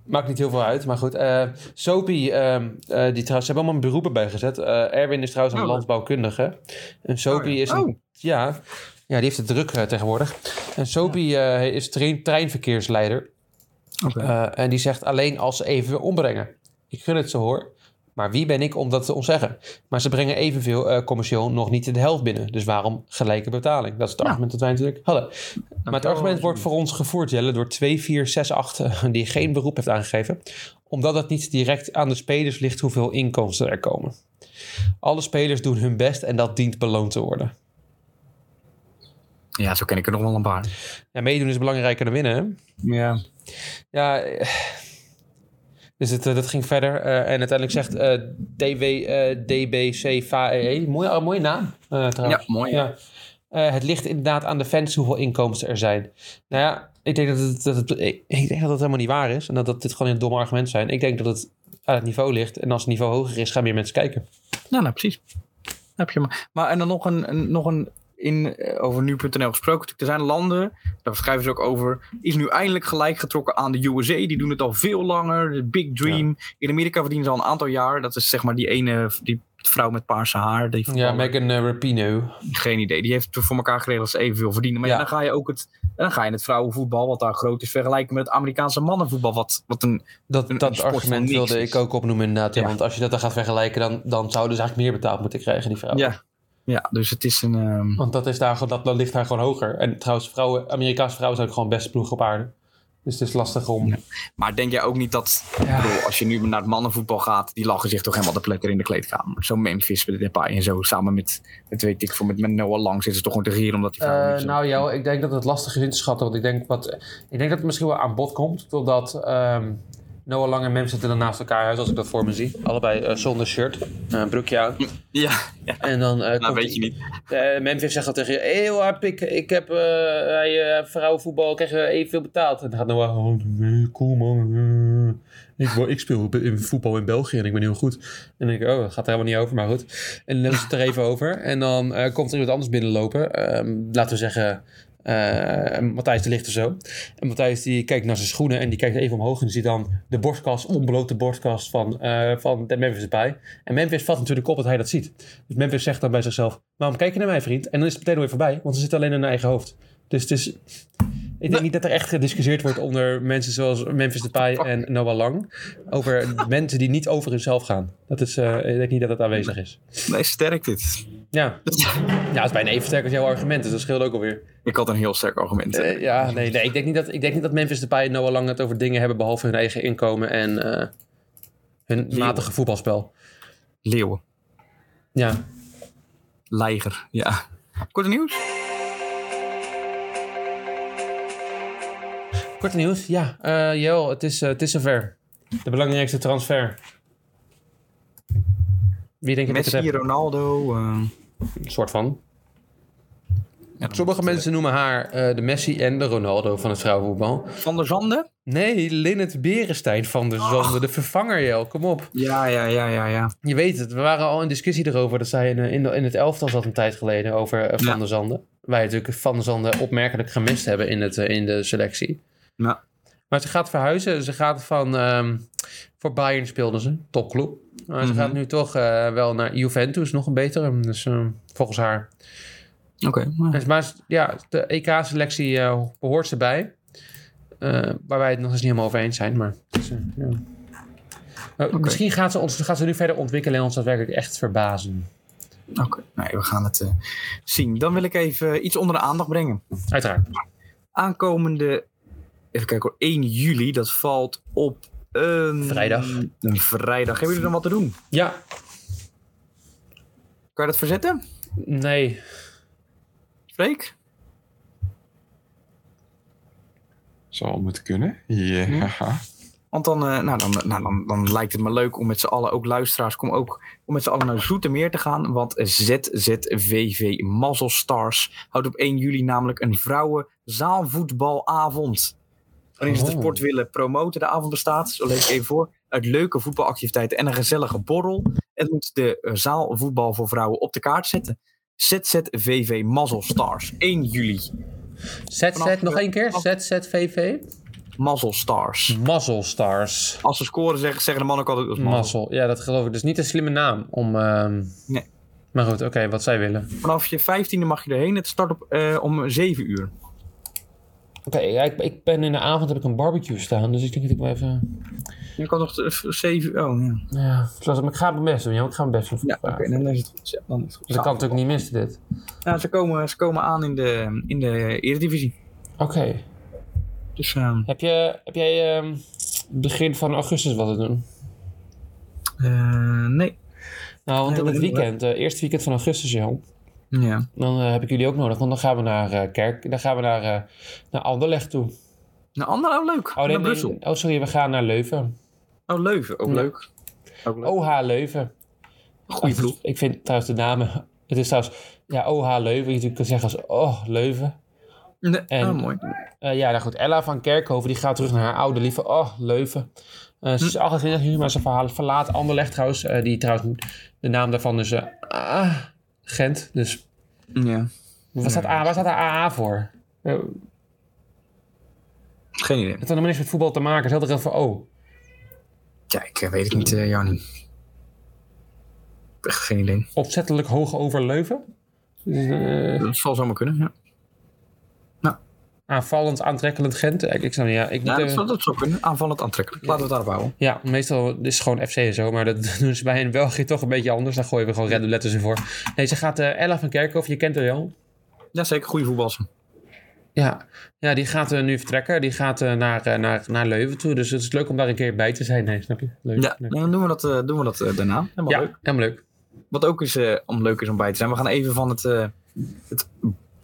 Speaker 1: Maakt niet heel veel uit, maar goed. eh Sopi, ehm, eh, die trouwens, ze hebben allemaal een beroepen bijgezet. Eh, Erwin is trouwens een
Speaker 2: Oh.
Speaker 1: landbouwkundige. En Sopi is een...
Speaker 2: Oh.
Speaker 1: Ja, ja, die heeft het druk eh, tegenwoordig. En Sopi eh, is trein- treinverkeersleider.
Speaker 2: Oké.
Speaker 1: Eh, en die zegt alleen als ze even ombrengen. Ik gun het ze hoor. Maar wie ben ik om dat te ontzeggen? Maar ze brengen evenveel eh, commercieel nog niet de helft binnen. Dus waarom gelijke betaling? Dat is het
Speaker 2: Ja.
Speaker 1: argument dat wij natuurlijk hadden. Maar het argument wordt voor ons gevoerd, Jelle, door 2468, eh, die geen beroep heeft aangegeven. Omdat het niet direct aan de spelers ligt hoeveel inkomsten er komen. Alle spelers doen hun best en dat dient beloond te worden.
Speaker 2: Ja, zo ken ik er nog wel een paar.
Speaker 1: Ja, meedoen is belangrijker dan winnen. hè?
Speaker 2: Ja.
Speaker 1: Ja, eh, dus het, eh, dat ging verder. eh, en uiteindelijk zegt eh DW, eh DBCVAE, E mooie, mooie naam eh, trouwens.
Speaker 2: Ja, mooi.
Speaker 1: Ja. Eh, het ligt inderdaad aan de fans hoeveel inkomsten er zijn. Nou ja, ik denk dat het, dat het, ik ik denk dat het helemaal niet waar is. En dat, dat dit gewoon een dom argument zijn. Ik denk dat het aan het niveau ligt. En als het niveau hoger is, gaan meer mensen kijken.
Speaker 2: Nou, nou precies. Heb je maar. maar en dan nog een, een- nog een in, eh, over nu.nl gesproken. Er zijn landen, daar schrijven ze ook over, is nu eindelijk gelijk getrokken aan de USA. Die doen het al veel langer. De Big Dream. In Amerika verdienen ze al een aantal jaar. Dat is zeg maar die ene, die vrouw met paarse haar. Die
Speaker 1: Ja,
Speaker 2: voetballer.
Speaker 1: Megan eh, Rapinoe.
Speaker 2: geen idee. Die heeft voor elkaar geregeld dat ze evenveel verdienen. Maar ja,
Speaker 1: Ja.
Speaker 2: dan ga je ook het, en dan ga je het vrouwenvoetbal, wat daar groot is, vergelijken met het Amerikaanse mannenvoetbal. Wat, wat een,
Speaker 1: Dat,
Speaker 2: Een- een
Speaker 1: dat
Speaker 2: sport van
Speaker 1: argument
Speaker 2: niks
Speaker 1: wilde
Speaker 2: is.
Speaker 1: ik ook opnoemen inderdaad. Ja,
Speaker 2: Ja.
Speaker 1: Want als je dat dan gaat vergelijken, dan, dan zouden ze eigenlijk meer betaald moeten krijgen, die vrouwen.
Speaker 2: ja. ja, dus het is een. ehm,
Speaker 1: Want dat, is daar, gewoon- dat, dat ligt daar gewoon hoger. En trouwens, vrouwen, Amerikaanse vrouwen zijn ook gewoon best ploeg op aarde. Dus het is lastig om...
Speaker 2: Maar denk jij ook niet dat, ik bedoel, als je nu naar het mannenvoetbal gaat, die lachen zich toch helemaal de plekker in de kleedkamer. Zo Memphis met Depay en zo, samen met, dat weet ik, voor met, met Noah Lang zitten ze toch gewoon te gieren omdat die
Speaker 1: Eh,
Speaker 2: vrouwen niet zo-
Speaker 1: nou ja, ik denk dat het lastig is in te schatten. Want ik denk, wat, ik denk dat het misschien wel aan bod komt. Doordat ehm, Noah Lang en Mem zitten dan naast elkaar uit, als ik dat voor me zie. Allebei eh, zonder shirt, eh, een broekje aan.
Speaker 2: Ja,
Speaker 1: En dan eh
Speaker 2: nou
Speaker 1: komt
Speaker 2: weet je niet.
Speaker 1: Eh, Memphis zegt al tegen je, hey, joh, Hap, ik, ik heb eh, bij eh, vrouwenvoetbal krijg je evenveel betaald. En dan gaat Noah, oh, nee, cool man. eh, Ik, wo- ik speel in voetbal in België en ik ben heel goed. En dan denk ik, oh, dat gaat er helemaal niet over, maar goed. En dan hebben ze het er even over. En dan eh, komt er iemand anders binnenlopen. Ehm, laten we zeggen, eh, Matthijs de Licht of zo. En Matthijs die kijkt naar zijn schoenen en die kijkt even omhoog. En die ziet dan de borstkast, onblote borstkast van, eh van de Memphis erbij. En Memphis vat natuurlijk op dat hij dat ziet. Dus Memphis zegt dan bij zichzelf, waarom kijk je naar mij vriend? En dan is het meteen weer voorbij, want ze zit alleen in haar eigen hoofd. Dus het is... Ik denk niet dat er echt gediscussieerd wordt onder mensen zoals Memphis Depay en Noah Lang. Over mensen die niet over hunzelf gaan. Dat is, eh, ik denk niet dat dat aanwezig is.
Speaker 2: Nee, sterk dit.
Speaker 1: Ja, ja dat is bijna even sterk als jouw argument. Dus dat scheelt ook alweer.
Speaker 2: Ik had een heel sterk argument.
Speaker 1: Eh, ja, nee, nee ik, denk niet dat, ik denk niet dat Memphis Depay en Noah Lang het over dingen hebben behalve hun eigen inkomen en eh, hun matige voetbalspel.
Speaker 2: Leeuwen,
Speaker 1: Ja.
Speaker 2: leiger, ja. Korte nieuws?
Speaker 1: Kort nieuws, ja. Eh Jel, het is, eh, het is zover. De belangrijkste transfer. Wie denk je dat ik het
Speaker 2: Messi,
Speaker 1: heb?
Speaker 2: Ronaldo. eh,
Speaker 1: Een soort van.
Speaker 2: ja, dan-
Speaker 1: Sommige mensen noemen haar eh, de Messi en de Ronaldo van het vrouwenvoetbal.
Speaker 2: Van der Zanden?
Speaker 1: Nee, Linnet Berenstein van de Zonde, de vervanger, Jel. Kom op.
Speaker 2: Ja, ja, ja, ja, ja.
Speaker 1: Je weet het, we waren al in discussie erover dat zij in, eh, in, de- in het elftal zat een tijd geleden over eh, Van
Speaker 2: Ja.
Speaker 1: der Zanden. Wij natuurlijk Van der Zanden opmerkelijk gemist hebben in, het, eh, in de selectie.
Speaker 2: Nou,
Speaker 1: Maar ze gaat verhuizen. Ze gaat van. ehm, voor Bayern speelden ze, topclub. Maar ze
Speaker 2: Mhm.
Speaker 1: gaat nu toch eh, wel naar Juventus, nog een betere. Dus ehm, volgens haar.
Speaker 2: oké. eh,
Speaker 1: Dus, maar s- ja, de EK-selectie behoort ze bij. Eh, waar wij het nog eens niet helemaal over eens zijn. Maar, het is, eh, ja. Eh,
Speaker 2: Oké.
Speaker 1: Misschien gaat ze, ons, gaat ze nu verder ontwikkelen en ons daadwerkelijk echt verbazen.
Speaker 2: Oké, nee, we gaan het eh, zien. Dan wil ik even eh, iets onder de aandacht brengen.
Speaker 1: Uiteraard.
Speaker 2: aankomende. Even kijken hoor, 1 juli, dat valt op een.
Speaker 1: Vrijdag.
Speaker 2: Een vrijdag. Hebben jullie dan wat te doen?
Speaker 1: Ja,
Speaker 2: Kan je dat verzetten?
Speaker 1: nee.
Speaker 2: Freek?
Speaker 4: Zal moeten kunnen. Ja.
Speaker 2: Want dan, eh, nou, dan, nou, dan, dan lijkt het me leuk om met z'n allen, ook luisteraars, kom ook om met z'n allen naar Zoetermeer te gaan. Want ZZVV Muzzle Stars houdt op 1 juli namelijk een vrouwenzaalvoetbalavond. Waarin ze de
Speaker 1: Oh.
Speaker 2: sport willen promoten. De avond bestaat, zo lees ik even voor, uit leuke voetbalactiviteiten en een gezellige borrel. Het moet de eh, zaalvoetbal voor vrouwen op de kaart zetten. ZZVV Muzzle Stars, 1 juli.
Speaker 1: ZZ,
Speaker 2: Vanaf-
Speaker 1: nog één keer.
Speaker 2: vanaf-
Speaker 1: ZZVV.
Speaker 2: Muzzle Stars.
Speaker 1: Muzzle Stars.
Speaker 2: Als ze scoren zeggen, zeggen de mannen ook altijd dat is mazzel.
Speaker 1: Mazzel. Ja, dat geloof ik. Dus niet een slimme naam om... ehm,
Speaker 2: Nee.
Speaker 1: Maar goed, oké, wat zij willen. Oké,
Speaker 2: Vanaf je 15e mag je erheen. Het start op, eh, om 7 uur.
Speaker 1: ja, ik, ik ben in de avond heb ik een barbecue staan, dus ik denk dat ik wel even...
Speaker 2: Je kan nog eh, 7 Oh, ja.
Speaker 1: Ja, zoals, maar ik ga mijn best doen, ja, ik ga mijn best doen.
Speaker 2: ja Oké, dan is het goed. Ja, dan is het goed. Nou,
Speaker 1: Dus dat kan natuurlijk niet missen, dit.
Speaker 2: Ja, ze, komen, ze komen aan in de, in de Eredivisie.
Speaker 1: Oké.
Speaker 2: Dus ehm,
Speaker 1: Heb, je, heb jij ehm, begin van augustus wat te doen?
Speaker 2: eh, nee.
Speaker 1: Nou, want in
Speaker 2: Nee, wat
Speaker 1: het
Speaker 2: doen we?
Speaker 1: Nou, eh, weekend, eh eerste weekend van augustus, Jan,
Speaker 2: Ja.
Speaker 1: Dan eh, heb ik jullie ook nodig, want dan gaan we naar eh, Kerk. Dan gaan we naar, eh, naar Anderlecht toe.
Speaker 2: Nou, ander, oh leuk.
Speaker 1: Oh, nee,
Speaker 2: naar
Speaker 1: nee,
Speaker 2: Brussel.
Speaker 1: oh, sorry, we gaan naar Leuven.
Speaker 2: Oh, Leuven. Ook
Speaker 1: Ja.
Speaker 2: leuk. Ook leuk.
Speaker 1: OH Leuven.
Speaker 2: Goeie ploeg.
Speaker 1: Ik vind trouwens de namen... Het is trouwens... Ja, OH Leuven. Je kunt zeggen als... Oh, Leuven.
Speaker 2: Nee,
Speaker 1: En-
Speaker 2: oh, mooi.
Speaker 1: Eh, ja, nou goed. Ella van Kerkhoven die gaat terug naar haar oude lieve. Oh, Leuven. Eh, ze is 28 nu, maar ze verhaal, verlaat Anderlecht trouwens. eh, die trouwens, de naam daarvan is eh, ah, Gent. Dus
Speaker 2: Ja.
Speaker 1: waar staat, A, waar staat de AA voor? Eh, het heeft
Speaker 2: Geen idee.
Speaker 1: helemaal niks met voetbal te maken. Het is altijd voor O.
Speaker 2: Kijk, eh, weet ik niet, eh, Jannie. Echt geen idee.
Speaker 1: Opzettelijk hoog over Leuven. Dus, eh,
Speaker 2: Dat zal zomaar kunnen, ja.
Speaker 1: aanvallend, aantrekkelijk Gent. Ik, ik snap niet, ja. Ik moet
Speaker 2: Ja, dat
Speaker 1: even-
Speaker 2: zou, dat zou kunnen. Aanvallend aantrekkelijk. Laten we het daarop houden.
Speaker 1: eh, Ja, meestal is het gewoon FC en zo, maar dat doen ze bij in België toch een beetje anders. Daar gooien we gewoon random letters in voor. Nee, ze gaat eh, Ella van Kerkhoff, je kent haar wel.
Speaker 2: Ja, zeker. Goede voetbalsen.
Speaker 1: Ja, ja die gaat eh, nu vertrekken. Die gaat eh, naar, eh, naar, naar Leuven toe. Dus het is leuk om daar een keer bij te zijn. Nee, snap je? Leuk.
Speaker 2: Ja,
Speaker 1: leuk.
Speaker 2: nee, dan doen we dat, eh, doen we dat eh, daarna. Helemaal
Speaker 1: ja
Speaker 2: leuk.
Speaker 1: helemaal leuk.
Speaker 2: Wat ook is, eh, om leuk is om bij te zijn. We gaan even van het, eh, het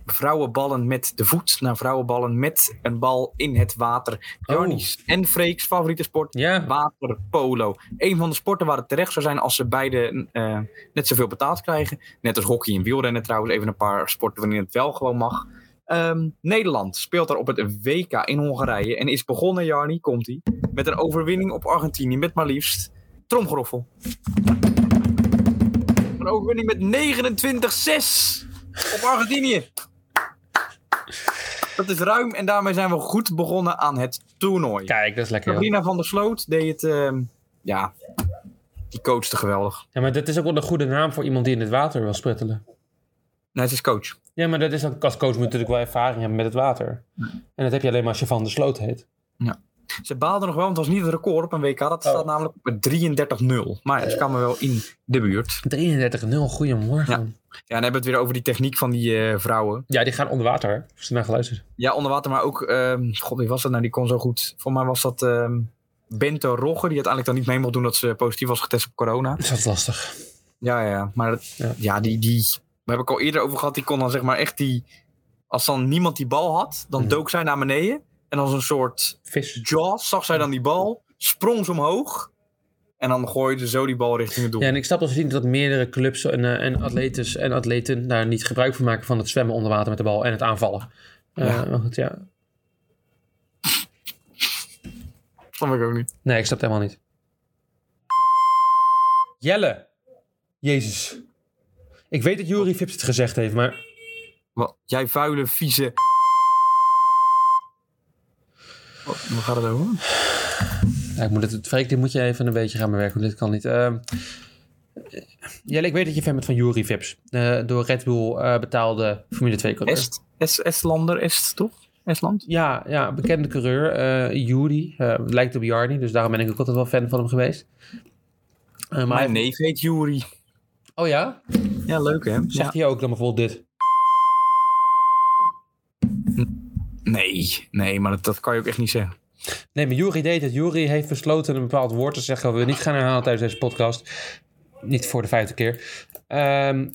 Speaker 2: vrouwenballen met de voet naar vrouwenballen met een bal in het water.
Speaker 1: Oh.
Speaker 2: Jannies en Freeks favoriete sport.
Speaker 1: Ja,
Speaker 2: Waterpolo. Een van de sporten waar het terecht zou zijn als ze beide eh, net zoveel betaald krijgen. Net als hockey en wielrennen trouwens. Even een paar sporten waarin het wel gewoon mag. Ehm, Nederland speelt daar op het WK in Hongarije. En is begonnen, Jarni, komt ie. Met een overwinning op Argentinië. Met maar liefst tromgeroffel. Een overwinning met 29-6 op Argentinië. Dat is ruim en daarmee zijn we goed begonnen aan het toernooi.
Speaker 1: kijk, dat is lekker. joh.
Speaker 2: Sabrina van der Sloot deed het. ehm, ja, die coachte geweldig.
Speaker 1: Ja, maar dat is ook wel een goede naam voor iemand die in het water wil sputtelen.
Speaker 2: Nee, ze is coach.
Speaker 1: Ja, maar dat is dan, als coach moet je natuurlijk wel ervaring hebben met het water. En dat heb je alleen maar als je van de sloot heet.
Speaker 2: Ze baalde nog wel, want het was niet het record op een WK. Dat staat namelijk op 33-0. Maar ja, ze kwamen wel in de buurt.
Speaker 1: 33-0, goedemorgen. Ja.
Speaker 2: Ja, dan hebben we het weer over die techniek van die eh, vrouwen.
Speaker 1: ja, die gaan onder water. hè. Als je naar geluisterd.
Speaker 2: Ja, onder water, maar ook. ehm, God, wie was dat nou? Die kon zo goed. Voor mij was dat. ehm Bento Rogge, die uiteindelijk dan niet mee mocht doen dat ze positief was getest op corona.
Speaker 1: Dat is lastig.
Speaker 2: Ja, ja, ja. Maar dat-
Speaker 1: Ja.
Speaker 2: ja. die, die. Daar heb ik al eerder over gehad. Die kon dan zeg maar echt die. Als dan niemand die bal had, dan
Speaker 1: Mhm.
Speaker 2: dook zij naar beneden. En als een soort
Speaker 1: Vis.
Speaker 2: jaws zag zij dan die bal, sprong ze omhoog. En dan gooide ze zo die bal richting het doel.
Speaker 1: Ja, en ik snap als niet dat meerdere clubs en, eh, en, atletes, en atleten daar niet gebruik van maken van het zwemmen onder water met de bal en het aanvallen. Eh,
Speaker 2: Ja.
Speaker 1: maar goed, ja.
Speaker 2: Dat snap ik ook niet.
Speaker 1: Nee, ik snap het helemaal niet. Jelle. Jezus. Ik weet dat Jury Vips het gezegd heeft, maar...
Speaker 2: Wat, jij vuile, vieze. Wat, Oh, waar gaat het over?
Speaker 1: Ja, ik moet het, Freek, dit moet je even een beetje gaan bewerken, want dit kan niet. Ehm, Jelle, ik weet dat je fan bent van Jury Vips. Eh, door Red Bull eh, betaalde Formule 2 coureur.
Speaker 2: Est, Est, Estlander, Est, toch? Estland?
Speaker 1: Ja, ja, bekende coureur. eh Jury. eh, lijkt op Jarny, dus daarom ben ik ook altijd wel fan van hem geweest. Eh, maar
Speaker 2: Mijn neef heet Jury.
Speaker 1: Oh ja?
Speaker 2: Ja, leuk hè? Ja.
Speaker 1: Zegt hij ook dan bijvoorbeeld dit?
Speaker 2: Nee, nee, maar dat, dat kan je ook echt niet zeggen.
Speaker 1: Nee, maar Jury deed het. Jury heeft besloten een bepaald woord te zeggen... wat we niet gaan herhalen tijdens deze podcast. Niet voor de vijfde keer. Ehm,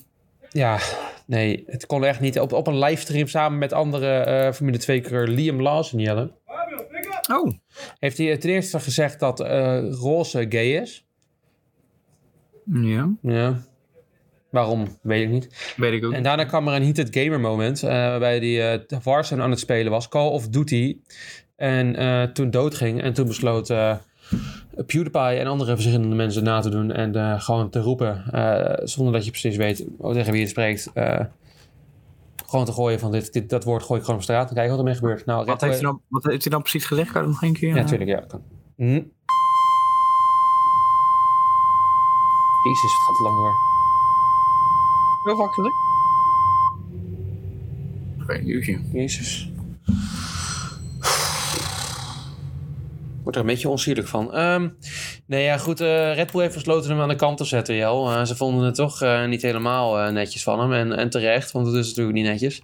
Speaker 1: ja, nee, het kon echt niet. Op, op een livestream samen met andere eh Formule 2-coureur Liam Lawson, Jelle...
Speaker 2: Oh,
Speaker 1: heeft hij ten eerste gezegd dat eh, roze gay is.
Speaker 2: ja.
Speaker 1: Ja. Waarom, weet ik niet.
Speaker 2: Weet ik ook.
Speaker 1: En daarna kwam er een heated gamer moment. eh, waarbij hij eh Warzone aan het spelen was. Call of Duty. En eh, toen doodging. En toen besloot eh, PewDiePie en andere verschillende mensen na te doen. En eh, gewoon te roepen. eh, zonder dat je precies weet tegen wie je spreekt. eh, gewoon te gooien van dit, dit, dat woord gooi ik gewoon op straat. En kijken wat ermee gebeurt. Nou,
Speaker 2: Wat
Speaker 1: recht-
Speaker 2: heeft, hij dan, wat heeft hij dan precies gezegd? Kan je dat nog een keer?
Speaker 1: Ja,
Speaker 2: eh,
Speaker 1: natuurlijk. Ja, dat kan. Hm. Jezus, het gaat te lang door.
Speaker 2: Heel vaak gezegd? Geen nieuwtje.
Speaker 1: Jezus. Wordt er een beetje onsierlijk van. Ehm, nee, ja, goed. eh, Red Bull heeft besloten hem aan de kant te zetten, Jel. Eh, ze vonden het toch eh, niet helemaal eh, netjes van hem. En, en terecht, want het is natuurlijk niet netjes.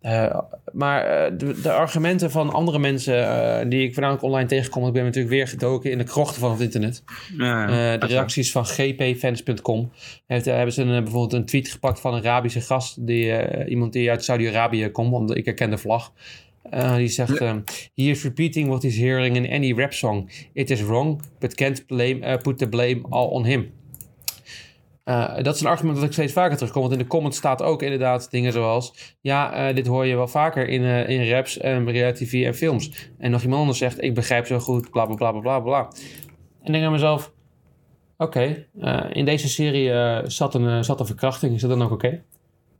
Speaker 1: Eh, maar eh, de, de argumenten van andere mensen eh, die ik voornamelijk online tegenkom, want ik ben natuurlijk weer gedoken in de krochten van het internet.
Speaker 2: Ja.
Speaker 1: Eh, de reacties van gpfans.com. Heeft, hebben ze een, eh, bijvoorbeeld een tweet gepakt van een Arabische gast. Die, eh, iemand die uit Saudi-Arabië komt, want ik herken de vlag. Eh, die zegt: ehm, He is repeating what he's hearing in any rap song. It is wrong, but can't blame, eh, put the blame all on him. Eh, dat is een argument dat ik steeds vaker terugkom. Want in de comments staat ook inderdaad dingen zoals: Ja, eh, dit hoor je wel vaker in, eh, in raps, en reality TV en films. En nog iemand anders zegt: Ik begrijp zo goed, bla bla bla bla bla. bla. En ik denk aan mezelf: Oké, eh, in deze serie eh, zat, een, eh, zat een verkrachting. Is dat dan ook oké?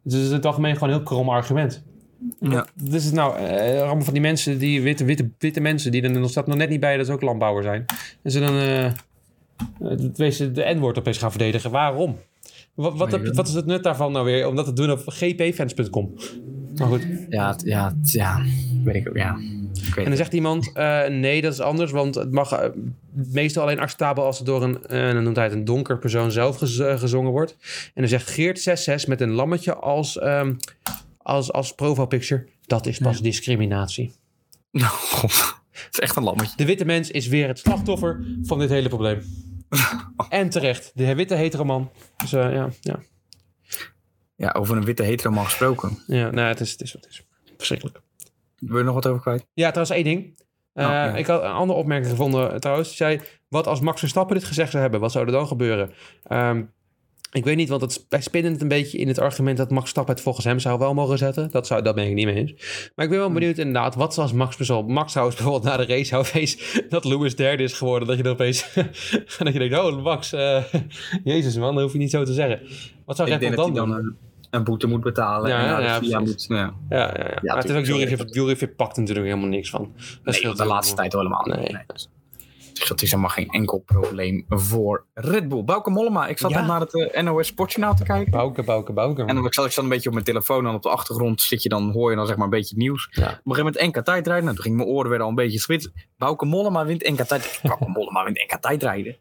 Speaker 1: Dus het is in het algemeen gewoon een heel krom argument.
Speaker 2: Ja.
Speaker 1: Dus het nou, eh, allemaal van die mensen, die witte, witte, witte mensen, die er nog, staat nog net niet bij dat ze ook landbouwer zijn. En ze dan eh, het wezen- de N-woord opeens gaan verdedigen. Waarom? Wat, wat, heb- wat is het nut daarvan nou weer? Om dat te doen op gpfans.com. Maar goed.
Speaker 2: Ja, t- ja, t- ja. Weet ik ook, ja.
Speaker 1: En dan zegt iemand, eh, nee, dat is anders, want het mag eh, meestal alleen acceptabel als het door een, eh, dan noemt hij het een donker persoon zelf gez- eh, gezongen wordt. En dan zegt Geert 66 met een lammetje als, ehm als, als profile picture, dat is pas discriminatie.
Speaker 2: Het is echt een lammetje.
Speaker 1: De witte mens is weer het slachtoffer van dit hele probleem. en terecht, de witte hetero man. Dus eh, ja, ja,
Speaker 2: Ja, over een witte hetero man gesproken.
Speaker 1: ja, nou, het is, het is wat het is. Verschrikkelijk.
Speaker 2: Wil je nog wat over kwijt?
Speaker 1: Ja, trouwens één ding. Eh,
Speaker 2: Oh, ja.
Speaker 1: Ik had een andere opmerking gevonden eh, trouwens. Die zei, wat als Max Verstappen dit gezegd zou hebben? Wat zou er dan gebeuren? Ehm, ik weet niet, want het, wij spinnen het een beetje in het argument... dat Max Verstappen het volgens hem zou wel mogen zetten. Dat, zou, dat ben ik niet mee eens. Maar ik
Speaker 2: Hmm.
Speaker 1: ben wel benieuwd inderdaad, wat als Max bijvoorbeeld... Max zou eens bijvoorbeeld na de race zou wees... dat Lewis derde is geworden. Dat je dan opeens... dat je denkt, oh Max, eh, jezus man, dat hoef je niet zo te zeggen. Wat zou Red Bull dan doen?
Speaker 2: een, eh, een boete moet betalen.
Speaker 1: Ja,
Speaker 2: en naar de
Speaker 1: ja,
Speaker 2: FIA
Speaker 1: precies.
Speaker 2: moet, ja.
Speaker 1: Ja, ja, ja. maar het is ook
Speaker 2: tuurlijk.
Speaker 1: Jury, Jury pakt er natuurlijk helemaal niks van. Dat
Speaker 2: Nee,
Speaker 1: scheelt
Speaker 2: want de
Speaker 1: ook.
Speaker 2: laatste tijd helemaal niet.
Speaker 1: Nee.
Speaker 2: Nee. Dus dat is helemaal geen enkel probleem voor Red Bull. Bouke Mollema, ik zat
Speaker 1: Ja.
Speaker 2: net naar het eh, NOS Sportjournaal te kijken.
Speaker 1: Bouke, bouke, bouke.
Speaker 2: En dan zat ik dan een beetje op mijn telefoon en op de achtergrond zit je dan, hoor je dan zeg maar een beetje het nieuws.
Speaker 1: Ja.
Speaker 2: Op een gegeven moment NK tijdrijden, nou, toen ging mijn oren werden al een beetje spits. Bouke Mollema wint NK tijdrijden. Bouke Mollema wint NK tijdrijden.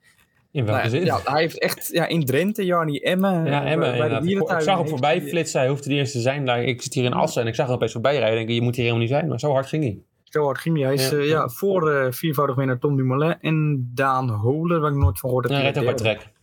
Speaker 1: In welke
Speaker 2: Nou,
Speaker 1: zin?
Speaker 2: ja, hij heeft echt ja, in Drenthe, Jarni, Emmen.
Speaker 1: Ja, Emma,
Speaker 2: bij de
Speaker 1: inderdaad. ik,
Speaker 2: dierentuin
Speaker 1: ik zag hem
Speaker 2: heeft eh,
Speaker 1: voorbij
Speaker 2: hij
Speaker 1: flitsen. Hij hoefde de eerste te zijn. Daar, ik zit hier in Assen en ik zag hem opeens voorbij rijden. Ik denk, je moet hier helemaal niet zijn. Maar zo hard ging hij.
Speaker 2: Zo hard ging hij. Hij is
Speaker 1: Ja.
Speaker 2: ja. ja, voor eh, viervoudig winnaar Tom Dumoulin en Daan Holer, waar ik nooit van gehoord heb.
Speaker 1: Hij
Speaker 2: Die
Speaker 1: rijdt ook bij
Speaker 2: werd derde.
Speaker 1: Trek.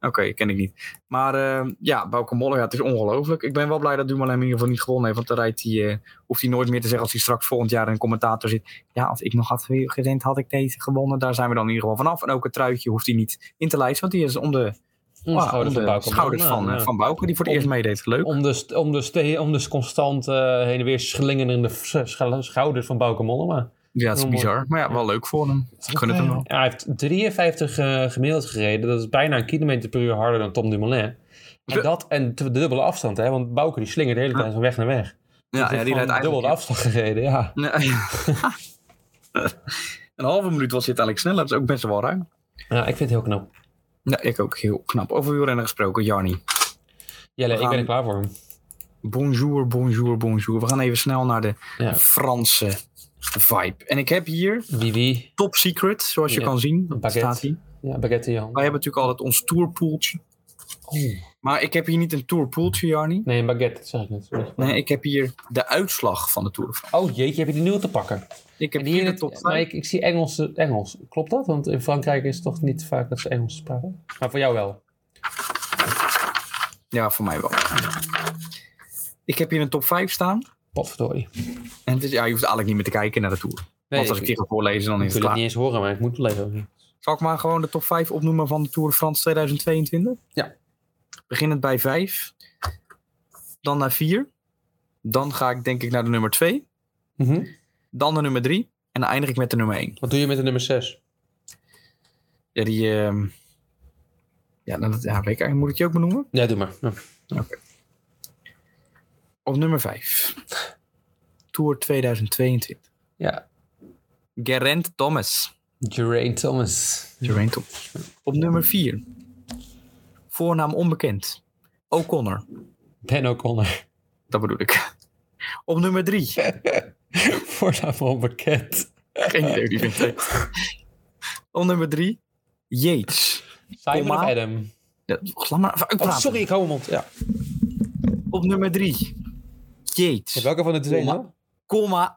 Speaker 2: Oké, ken ik niet. Maar eh, ja, Bouke Moller, ja, het is ongelooflijk. Ik ben wel blij dat Dumoulin in ieder geval niet gewonnen heeft. Want dan rijdt hij, eh, hoeft hij nooit meer te zeggen als hij straks volgend jaar in een commentator zit. Ja, als ik nog had gerend, had ik deze gewonnen. Daar zijn we dan in ieder geval vanaf. En ook het truitje hoeft hij niet in te lijsten. Want die is om de,
Speaker 1: Om de
Speaker 2: ah,
Speaker 1: schouders
Speaker 2: om
Speaker 1: van
Speaker 2: de
Speaker 1: Bauke.
Speaker 2: schouders van,
Speaker 1: Nou,
Speaker 2: eh,
Speaker 1: ja.
Speaker 2: van Bouke, die voor het
Speaker 1: Om-
Speaker 2: eerst meedeed. Leuk.
Speaker 1: Om dus, om dus, te- om dus constant eh, heen en weer slingerende sch- sch- schouders van Bauke Mollema.
Speaker 2: ja, het is
Speaker 1: heel mooi.
Speaker 2: bizar. Maar ja, wel leuk voor hem. Ik gun het hem wel.
Speaker 1: Ja, hij heeft 53 eh, gemiddeld gereden. Dat is bijna een kilometer per uur harder dan Tom Dumoulin. En
Speaker 2: Zo.
Speaker 1: dat en de dubbele afstand, hè? Want Bauke die slingert de hele tijd van weg naar weg.
Speaker 2: Ja, ja die rijdt eigenlijk...
Speaker 1: dubbel de afstand gereden, ja.
Speaker 2: Nee. een halve minuut was dit eigenlijk sneller. Dat is ook best wel ruim.
Speaker 1: ja. Ik vind het heel knap.
Speaker 2: Ja, ik ook heel knap. Over wielrennen gesproken, Jarni.
Speaker 1: Jelle,
Speaker 2: We
Speaker 1: ik ben
Speaker 2: gaan-
Speaker 1: er klaar voor.
Speaker 2: Bonjour, bonjour, bonjour. We gaan even snel naar de
Speaker 1: Ja.
Speaker 2: Franse vibe. En ik heb hier
Speaker 1: Wie wie?
Speaker 2: Top Secret, zoals je
Speaker 1: Ja,
Speaker 2: kan zien. Dat
Speaker 1: pakket.
Speaker 2: staat hier.
Speaker 1: Ja, baguette in je hand.
Speaker 2: Wij hebben natuurlijk altijd ons tourpoeltje.
Speaker 1: Oh.
Speaker 2: Maar ik heb hier niet een tourpoeltje, Jarni.
Speaker 1: Nee, een baguette, dat zeg ik net. Sorry.
Speaker 2: Nee, ik heb hier de uitslag van de Tour. de France.
Speaker 1: Oh jeetje, heb je die nieuwe te pakken?
Speaker 2: Ik heb
Speaker 1: En
Speaker 2: hier de
Speaker 1: het-
Speaker 2: top 5.
Speaker 1: maar ik, ik zie Engels, Engels. Klopt dat? Want in Frankrijk is het toch niet vaak dat ze Engels spreken? Maar voor jou wel.
Speaker 2: Ja, voor mij wel. Ik heb hier een top 5 staan.
Speaker 1: Potverdorie.
Speaker 2: En het is, ja, je hoeft eigenlijk niet meer te kijken naar de Tour.
Speaker 1: Nee,
Speaker 2: Want als ik
Speaker 1: ik,
Speaker 2: dit ga voorlezen, dan
Speaker 1: ik
Speaker 2: is
Speaker 1: wil het
Speaker 2: het klaar.
Speaker 1: niet eens horen, maar ik moet het lezen.
Speaker 2: Zal ik maar gewoon de top 5 opnoemen van de Tour de France 2022?
Speaker 1: Ja.
Speaker 2: Beginnend bij 5, dan naar 4. Dan ga ik denk ik naar de nummer 2,
Speaker 1: Mhm.
Speaker 2: dan de nummer 3 en dan eindig ik met de nummer 1.
Speaker 1: Wat doe je met de nummer 6?
Speaker 2: Ja, die. ehm, Ja, nou, dat, ja, weet ik eigenlijk, moet ik je ook benoemen?
Speaker 1: Ja, doe maar. Ja.
Speaker 2: Op nummer 5, Tour 2022.
Speaker 1: ja.
Speaker 2: Geraint Thomas.
Speaker 1: Geraint Thomas.
Speaker 2: Geraint Thomas. Op nummer 4, voornaam onbekend, O'Connor.
Speaker 1: Ben O'Connor.
Speaker 2: Dat bedoel ik. Op nummer 3.
Speaker 1: Voornaam onbekend.
Speaker 2: Geen idee wie vindt het. Op nummer 3. Yates.
Speaker 1: Simon
Speaker 2: Comma.
Speaker 1: of Adam.
Speaker 2: Ja, Laat maar even
Speaker 1: Oh,
Speaker 2: uitpraten.
Speaker 1: sorry, ik hou hem mond. Ja.
Speaker 2: Op nummer 3. Yates.
Speaker 1: Welke van de twee
Speaker 2: Komma.
Speaker 1: dan?
Speaker 2: Komma.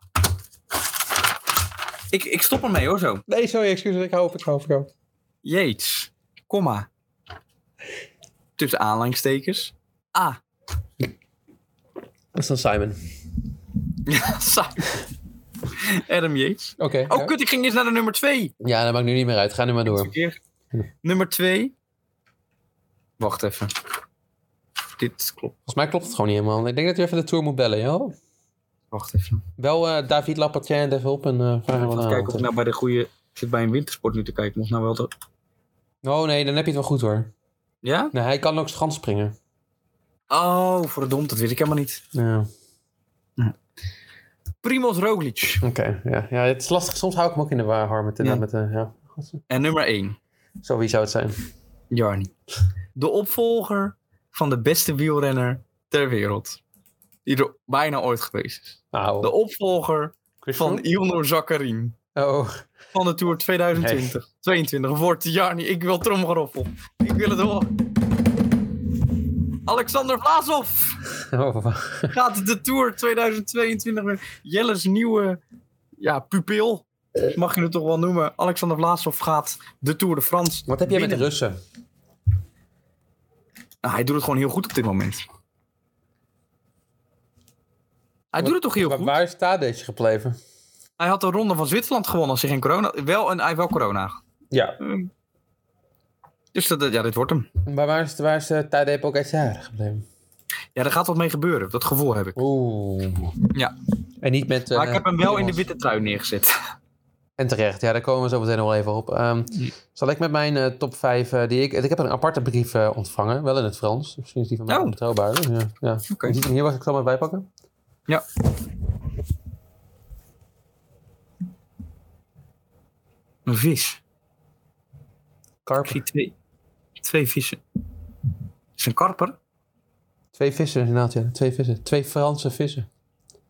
Speaker 2: Ik, ik stop ermee hoor zo.
Speaker 1: Nee, sorry, excuses. Ik hou op, ik hou op, ik hou op.
Speaker 2: Yates. Komma. Tussen aanhalingstekens. A.
Speaker 1: Dat is dan Simon. Oké.
Speaker 2: Ja, sa- Adam Yates. Oh
Speaker 1: ja.
Speaker 2: kut, ik ging eerst naar de nummer 2.
Speaker 1: Ja, dat maakt nu niet meer uit. Ga nu maar door.
Speaker 2: Nummer 2. Wacht even. Dit klopt.
Speaker 1: Volgens mij klopt het gewoon niet helemaal. Ik denk dat je even de tour moet bellen, joh.
Speaker 2: Wacht even.
Speaker 1: Wel eh, David Lapatière even op en eh vraag hem wat
Speaker 2: Even
Speaker 1: aan.
Speaker 2: kijken of ik nou bij de goede... Ik zit bij een wintersport nu te kijken. Mocht nou wel dat...
Speaker 1: Oh nee, dan heb je het wel goed hoor.
Speaker 2: Ja?
Speaker 1: Nee, hij kan ook schans springen.
Speaker 2: Oh, verdomd, dat weet ik helemaal niet.
Speaker 1: Ja, oké.
Speaker 2: Primoz Roglic.
Speaker 1: ja. ja, het is lastig. Soms hou ik hem ook in de war, Harm. Met, de-
Speaker 2: Ja.
Speaker 1: met, de- ja.
Speaker 2: En nummer 1,
Speaker 1: Zo, wie zou het zijn?
Speaker 2: Jarni. De opvolger van de beste wielrenner ter wereld. Die er bijna ooit geweest is.
Speaker 1: Nou,
Speaker 2: De opvolger
Speaker 1: Chris
Speaker 2: van
Speaker 1: Froome?
Speaker 2: Ilnur Zakarin.
Speaker 1: Oh,
Speaker 2: Van de Tour 2020. 22 wordt Jarni. Ik wil tromgeroffel. Ik wil het horen. Alexander Vlasov
Speaker 1: oh, wacht.
Speaker 2: gaat de Tour 2022 met Jelle's nieuwe ja, pupil. Mag je het toch wel noemen. Alexander Vlasov gaat de Tour de France
Speaker 1: wat heb jij met de
Speaker 2: winnen.
Speaker 1: Russen?
Speaker 2: Nou, hij doet het gewoon heel goed op dit moment. Hij doet het toch heel
Speaker 1: Waar,
Speaker 2: goed?
Speaker 1: waar is Tadej gebleven?
Speaker 2: Hij had de ronde van Zwitserland gewonnen als hij geen corona... Wel een, hij heeft wel corona.
Speaker 1: Ja,
Speaker 2: Dus dat, ja, dit wordt hem.
Speaker 1: maar waar is, waar is uh, Tadej Pogacar gebleven?
Speaker 2: Ja, daar gaat wat mee gebeuren. Dat gevoel heb ik.
Speaker 1: Oeh.
Speaker 2: Ja.
Speaker 1: En niet met... eh,
Speaker 2: maar ik heb hem wel in de
Speaker 1: Thomas.
Speaker 2: witte trui neergezet.
Speaker 1: En terecht, ja, daar komen we zo meteen nog wel even op. Ehm, Zal ik met mijn eh, top 5 die ik. Ik heb een aparte brief eh, ontvangen, wel in het Frans. Dus Misschien is die van mij
Speaker 2: Oh.
Speaker 1: onbetrouwbaar. Ja, ja.
Speaker 2: Oké.
Speaker 1: Die- Hier was ik zal maar bijpakken.
Speaker 2: Ja. Een vis. Ik
Speaker 1: Karper.
Speaker 2: zie twee, twee vissen. Is een karper?
Speaker 1: Twee vissen inderdaad, ja. Twee vissen. Twee Franse vissen.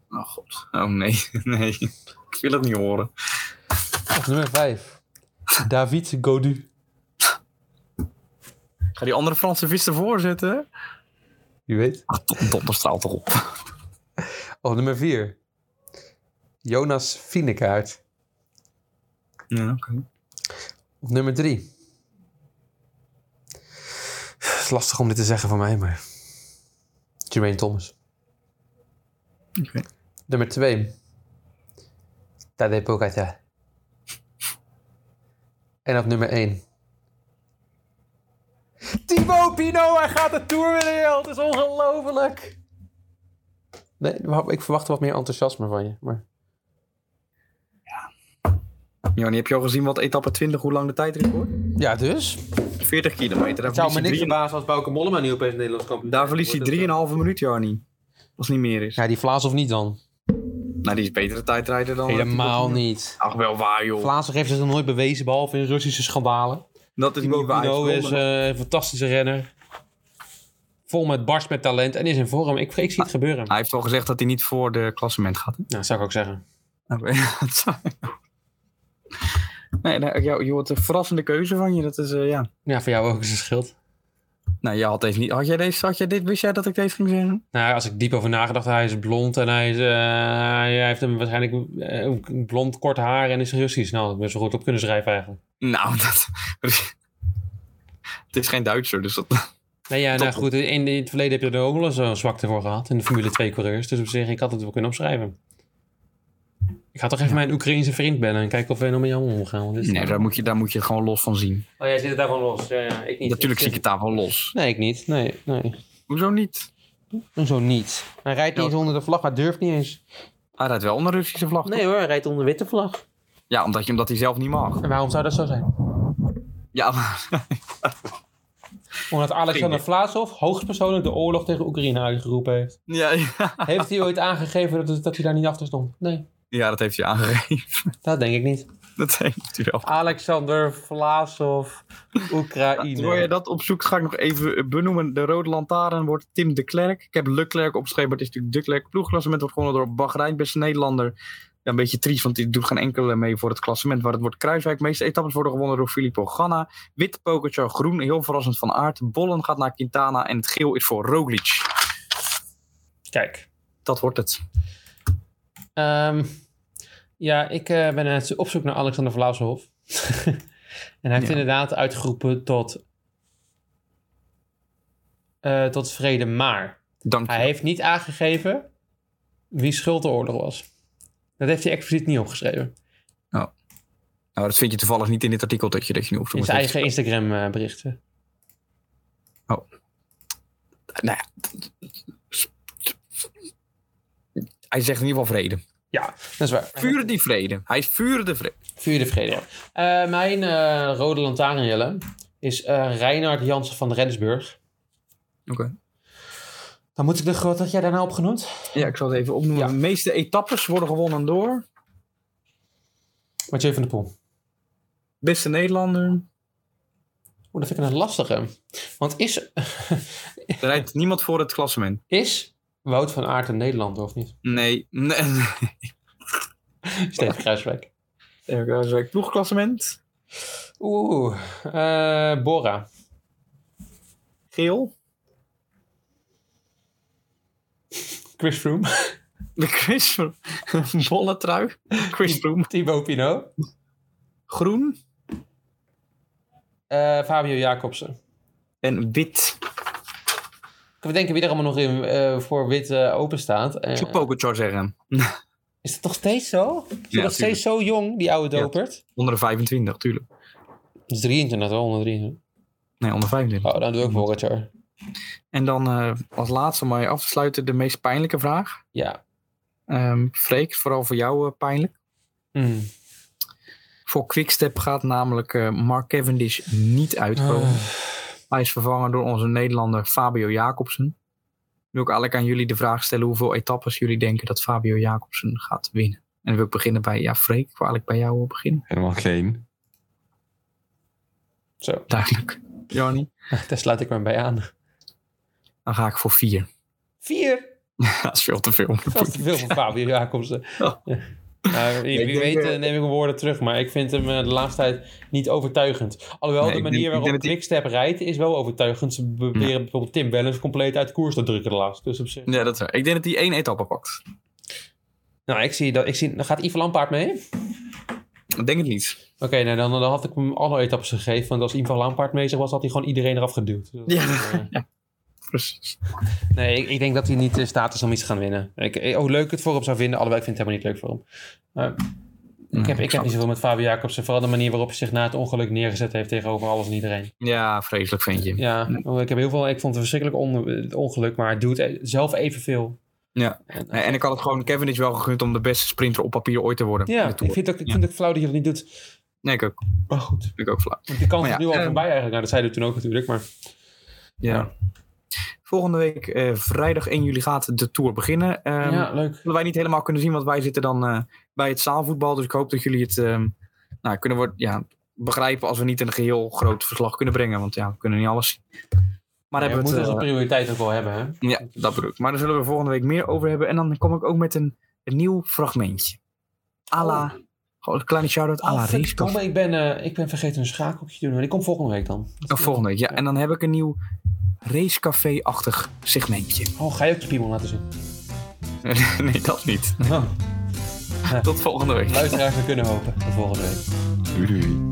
Speaker 2: Oh god. Oh nee, nee. Ik wil het niet horen.
Speaker 1: Op nummer 5. David Godu.
Speaker 2: Ik Ga die andere Franse vis ervoor zetten?
Speaker 1: Wie weet.
Speaker 2: Ach, donderstraalt toch op.
Speaker 1: Op nummer 4. Jonas Fienekaart.
Speaker 2: Ja, oké.
Speaker 1: Op nummer 3. Het is lastig om dit te zeggen van mij, maar. Jermaine Thomas.
Speaker 2: Oké.
Speaker 1: Nummer 2. Tadej Pogacar. En op nummer 1. Thibaut Pinot, hij gaat de Tour winnen, joh. Het is ongelofelijk. Nee, ik verwacht wat meer enthousiasme van je. Maar...
Speaker 2: Jani, heb je al gezien wat etappe 20, hoe lang de tijdrit wordt?
Speaker 1: Ja, dus?
Speaker 2: 40 kilometer. Daar
Speaker 1: Het zou me
Speaker 2: verlies
Speaker 1: niks eh,
Speaker 2: hij
Speaker 1: verbazen als Bouke Mollema nu opeens Nederlands
Speaker 2: drie-
Speaker 1: kampioen
Speaker 2: daar verliest hij 3,5 minuut, Jani. Als het niet meer is.
Speaker 1: Ja, die Vlaas of niet dan?
Speaker 2: Nou, die is betere tijdrijder dan...
Speaker 1: Helemaal niet.
Speaker 2: Ach, wel waar, joh.
Speaker 1: Vlaas heeft zich nog nooit bewezen, behalve in Russische schandalen.
Speaker 2: dat is niet
Speaker 1: Thibaut
Speaker 2: waar.
Speaker 1: Pinot
Speaker 2: Hij
Speaker 1: is eh, een fantastische renner. Vol met barst met talent en is in vorm. Ik, ik zie het gebeuren.
Speaker 2: Hij heeft al gezegd dat hij niet voor de klassement gaat. hè?
Speaker 1: Nou, dat zou ik ook zeggen.
Speaker 2: Oké, dat zou- nee, nou, jou- je hoort een verrassende keuze van je. Dat is, eh, ja.
Speaker 1: Ja, voor jou ook is het schild.
Speaker 2: Nou, jij had deze niet... Had jij deze... Had jij dit... Wist jij dat ik deze ging zeggen?
Speaker 1: Nou, als ik diep over nagedacht, hij is blond en hij, is, eh, hij heeft hem waarschijnlijk eh, ook blond kort haar en is Russisch. Nou, dat best wel goed op kunnen schrijven eigenlijk.
Speaker 2: Nou, dat... het is geen Duitser, dus dat...
Speaker 1: Nee, ja, nou
Speaker 2: Top.
Speaker 1: goed, in, in het verleden heb je er ook wel eens een zwakte voor gehad in de Formule 2 coureurs. Dus op zich, ik had het wel kunnen opschrijven. Ik ga toch even mijn Oekraïense vriend bellen en kijken of wij nog met jou omgaan. want dit is- nou?
Speaker 2: Nee, daar moet, je, daar moet je het gewoon los van zien.
Speaker 1: Oh, jij zit het daarvan los. Ja, ja, ik niet.
Speaker 2: Natuurlijk zie ik het daarvan los.
Speaker 1: Nee, ik niet. Nee, nee.
Speaker 2: Hoezo niet?
Speaker 1: Zo niet. Hij rijdt niet
Speaker 2: Ja.
Speaker 1: eens onder de vlag, maar durft niet eens.
Speaker 2: Hij rijdt wel onder Russische vlag. toch?
Speaker 1: Nee hoor, hij rijdt onder witte vlag.
Speaker 2: Ja, omdat, je, omdat hij zelf niet mag.
Speaker 1: En waarom zou dat zo zijn?
Speaker 2: Ja, maar-
Speaker 1: Omdat Alexander Vlasov hoogstpersoonlijk de oorlog tegen Oekraïne uitgeroepen heeft.
Speaker 2: ja, ja.
Speaker 1: Heeft hij ooit aangegeven dat, het- dat hij daar niet achter stond? Nee,
Speaker 2: ja, dat heeft hij aangegeven.
Speaker 1: dat denk ik niet.
Speaker 2: Dat heeft hij wel.
Speaker 1: Alexander Vlasov, Ah,
Speaker 2: Terwijl je
Speaker 1: Oekraïne.
Speaker 2: dat opzoekt, ga ik nog even eh, benoemen. De Rode Lantaarn wordt Tim de Klerk. Ik heb Le Klerk opgeschreven, maar het is natuurlijk de Klerk. Ploegklassement wordt gewonnen door Bahrein, beste Nederlander. Ja, een beetje triest, want die doet geen enkele mee voor het klassement. Waar het wordt Kruiswijk. De meeste etappes worden gewonnen door Filippo Ganna. Wit Pokerchar groen, heel verrassend van aard. Bollen gaat naar Quintana en het geel is voor Roglic.
Speaker 1: Kijk,
Speaker 2: dat wordt het.
Speaker 1: Ehm, ja, ik eh, ben aan het op zoek naar Alexander Vlaamshof. en hij heeft
Speaker 2: Ja.
Speaker 1: inderdaad uitgeroepen tot, eh, tot vrede. Maar
Speaker 2: Dank je.
Speaker 1: hij heeft niet aangegeven wie schuld de oorlog was. Dat heeft hij expliciet niet opgeschreven.
Speaker 2: Nou, dat vind je toevallig niet in dit artikel dat je dat je nu opzoekt.
Speaker 1: In zijn eigen Instagram eh, berichten.
Speaker 2: Nou ja. Hij zegt in ieder geval vrede.
Speaker 1: Ja, dat is waar.
Speaker 2: Vuur die vrede. Hij is vuur de vrede.
Speaker 1: Vuur de vrede. Eh, mijn eh, rode lantaarn, Jelle, is eh Reinhard Jansen van Rensburg.
Speaker 2: Oké.
Speaker 1: Dan moet ik de groot dat jij daarna op genoemd.
Speaker 2: Ja, ik zal het even opnoemen.
Speaker 1: Ja.
Speaker 2: De meeste etappes worden gewonnen door
Speaker 1: Mathieu van der Poel.
Speaker 2: beste Nederlander.
Speaker 1: Oeh, dat vind ik een lastige. Want is,
Speaker 2: Er rijdt niemand voor het klassement.
Speaker 1: is Wout van Aert een Nederlander of niet?
Speaker 2: Nee. nee.
Speaker 1: Steven Kruiswijk.
Speaker 2: Even kijken, zo'n Ploegklassement.
Speaker 1: Oeh, eh, Bora.
Speaker 2: Geel.
Speaker 1: Chris Froome.
Speaker 2: De Chris Bolle trui. Chris Froome.
Speaker 1: Thibaut Pinot.
Speaker 2: Groen.
Speaker 1: eh, Fabio Jacobsen.
Speaker 2: En wit.
Speaker 1: Ik kan denken wie er allemaal nog in, eh, voor wit eh, open staat. Eh,
Speaker 2: Ik zou Pogacar zeggen.
Speaker 1: is dat nog steeds zo? Is
Speaker 2: Ja,
Speaker 1: hij nog steeds zo jong, die oude
Speaker 2: Ja.
Speaker 1: dopert?
Speaker 2: Onder de 25, tuurlijk.
Speaker 1: Dat is 23, wel 123.
Speaker 2: Nee, onder 25.
Speaker 1: Oh, dan doe ik Pogacar.
Speaker 2: En dan eh, als laatste, maar af te sluiten, de meest pijnlijke vraag.
Speaker 1: Ja.
Speaker 2: Ehm Freek, vooral voor jou eh, pijnlijk.
Speaker 1: Mm.
Speaker 2: Voor Quickstep gaat namelijk eh, Mark Cavendish niet uitkomen.
Speaker 1: Ah,
Speaker 2: Hij is vervangen door onze Nederlander Fabio Jacobsen. Nu ook eigenlijk aan jullie de vraag stellen hoeveel etappes jullie denken dat Fabio Jacobsen gaat winnen. En dan wil ik beginnen bij, ja Freek, ik wil eigenlijk bij jou beginnen.
Speaker 4: Helemaal geen.
Speaker 1: zo,
Speaker 2: Duidelijk. Johnny?
Speaker 1: daar sluit ik me bij aan.
Speaker 2: Dan ga ik voor vier.
Speaker 1: Vier.
Speaker 2: dat is veel te veel.
Speaker 1: Dat is te veel voor Fabio Jacobsen.
Speaker 2: Oh.
Speaker 1: Nou, wie
Speaker 2: Ik
Speaker 1: wie
Speaker 2: denk,
Speaker 1: weet
Speaker 2: eh,
Speaker 1: eh, neem ik mijn woorden terug, maar ik vind hem eh, de laatste tijd niet overtuigend. Alhoewel
Speaker 2: Nee,
Speaker 1: de
Speaker 2: ik
Speaker 1: manier
Speaker 2: denk- ik
Speaker 1: waarop
Speaker 2: denk dat hij-
Speaker 1: Quickstep rijdt is wel overtuigend. Ze proberen bijvoorbeeld Tim Wellens compleet uit koers te drukken de laatste. Dus op zich.
Speaker 2: Ja, dat is waar. Ik denk dat hij één etappe pakt.
Speaker 1: Nou, ik zie dat. Ik zie, gaat Ivan Lampaard mee? Oké,
Speaker 2: Ik denk het niet.
Speaker 1: nou, dan, dan had ik hem alle etappes gegeven. Want als Ivan Lampaard mee was, had hij gewoon iedereen eraf geduwd. Dus,
Speaker 2: Ja.
Speaker 1: eh,
Speaker 2: Precies.
Speaker 1: Nee, ik, ik denk dat hij niet in staat is om iets te gaan winnen. Ik, ik- hoe leuk ik het voor hem zou vinden, alhoewel ik vind het helemaal niet leuk voor hem. Maar
Speaker 2: Mm.
Speaker 1: ik heb, ik heb niet zoveel met Fabio Jacobsen. Vooral de manier waarop hij zich na het ongeluk neergezet heeft tegenover alles en iedereen.
Speaker 2: Ja, vreselijk vind je.
Speaker 1: Ja, oh, ik, heb heel veel, ik vond het verschrikkelijk on- het ongeluk, maar het doet e- zelf evenveel.
Speaker 2: Ja.
Speaker 1: En,
Speaker 2: Nee, En ik had het gewoon Cavendish wel gegund om de beste sprinter op papier ooit te worden.
Speaker 1: ja,
Speaker 2: in de
Speaker 1: ik
Speaker 2: Tour.
Speaker 1: vind, het ook, ik
Speaker 2: Ja.
Speaker 1: vind het ook flauw dat je dat niet doet.
Speaker 2: Nee, ik ook.
Speaker 1: Maar goed,
Speaker 2: Vind ik ook flauw.
Speaker 1: want die kans
Speaker 2: Maar ja,
Speaker 1: is nu al
Speaker 2: eh,
Speaker 1: voorbij eigenlijk. Nou, dat zeiden we toen ook natuurlijk, maar
Speaker 2: Ja.
Speaker 1: Ja.
Speaker 2: Volgende week, eh, vrijdag 1 juli, gaat de tour beginnen. Ehm
Speaker 1: ja, leuk.
Speaker 2: Dat wij niet helemaal kunnen zien, want wij zitten dan eh, bij het zaalvoetbal. Dus ik hoop dat jullie het ehm, nou, kunnen worden, ja, begrijpen als we niet een geheel groot verslag kunnen brengen. Want ja, we kunnen niet alles zien. Maar
Speaker 1: Maar we
Speaker 2: hebben we
Speaker 1: moeten
Speaker 2: het,
Speaker 1: onze
Speaker 2: eh,
Speaker 1: prioriteit ook wel hebben, hè?
Speaker 2: ja, dat bedoel ik. Maar daar zullen we volgende week meer over hebben. En dan kom ik ook met een, een nieuw fragmentje. Ala, gewoon een kleine shout-out. Ala
Speaker 1: Oh,
Speaker 2: race.
Speaker 1: verdomme, ik ben, eh, ik ben vergeten een schakeltje te doen, maar die komt volgende week dan.
Speaker 2: Of volgende week, ja. En dan heb ik een nieuw racecafé-achtig segmentje.
Speaker 1: Oh, ga je ook je piemel laten zien?
Speaker 2: nee, dat niet.
Speaker 1: Nou,
Speaker 2: Tot volgende week.
Speaker 1: luisteraars, we kunnen hopen. Tot volgende week.
Speaker 4: Doei doei.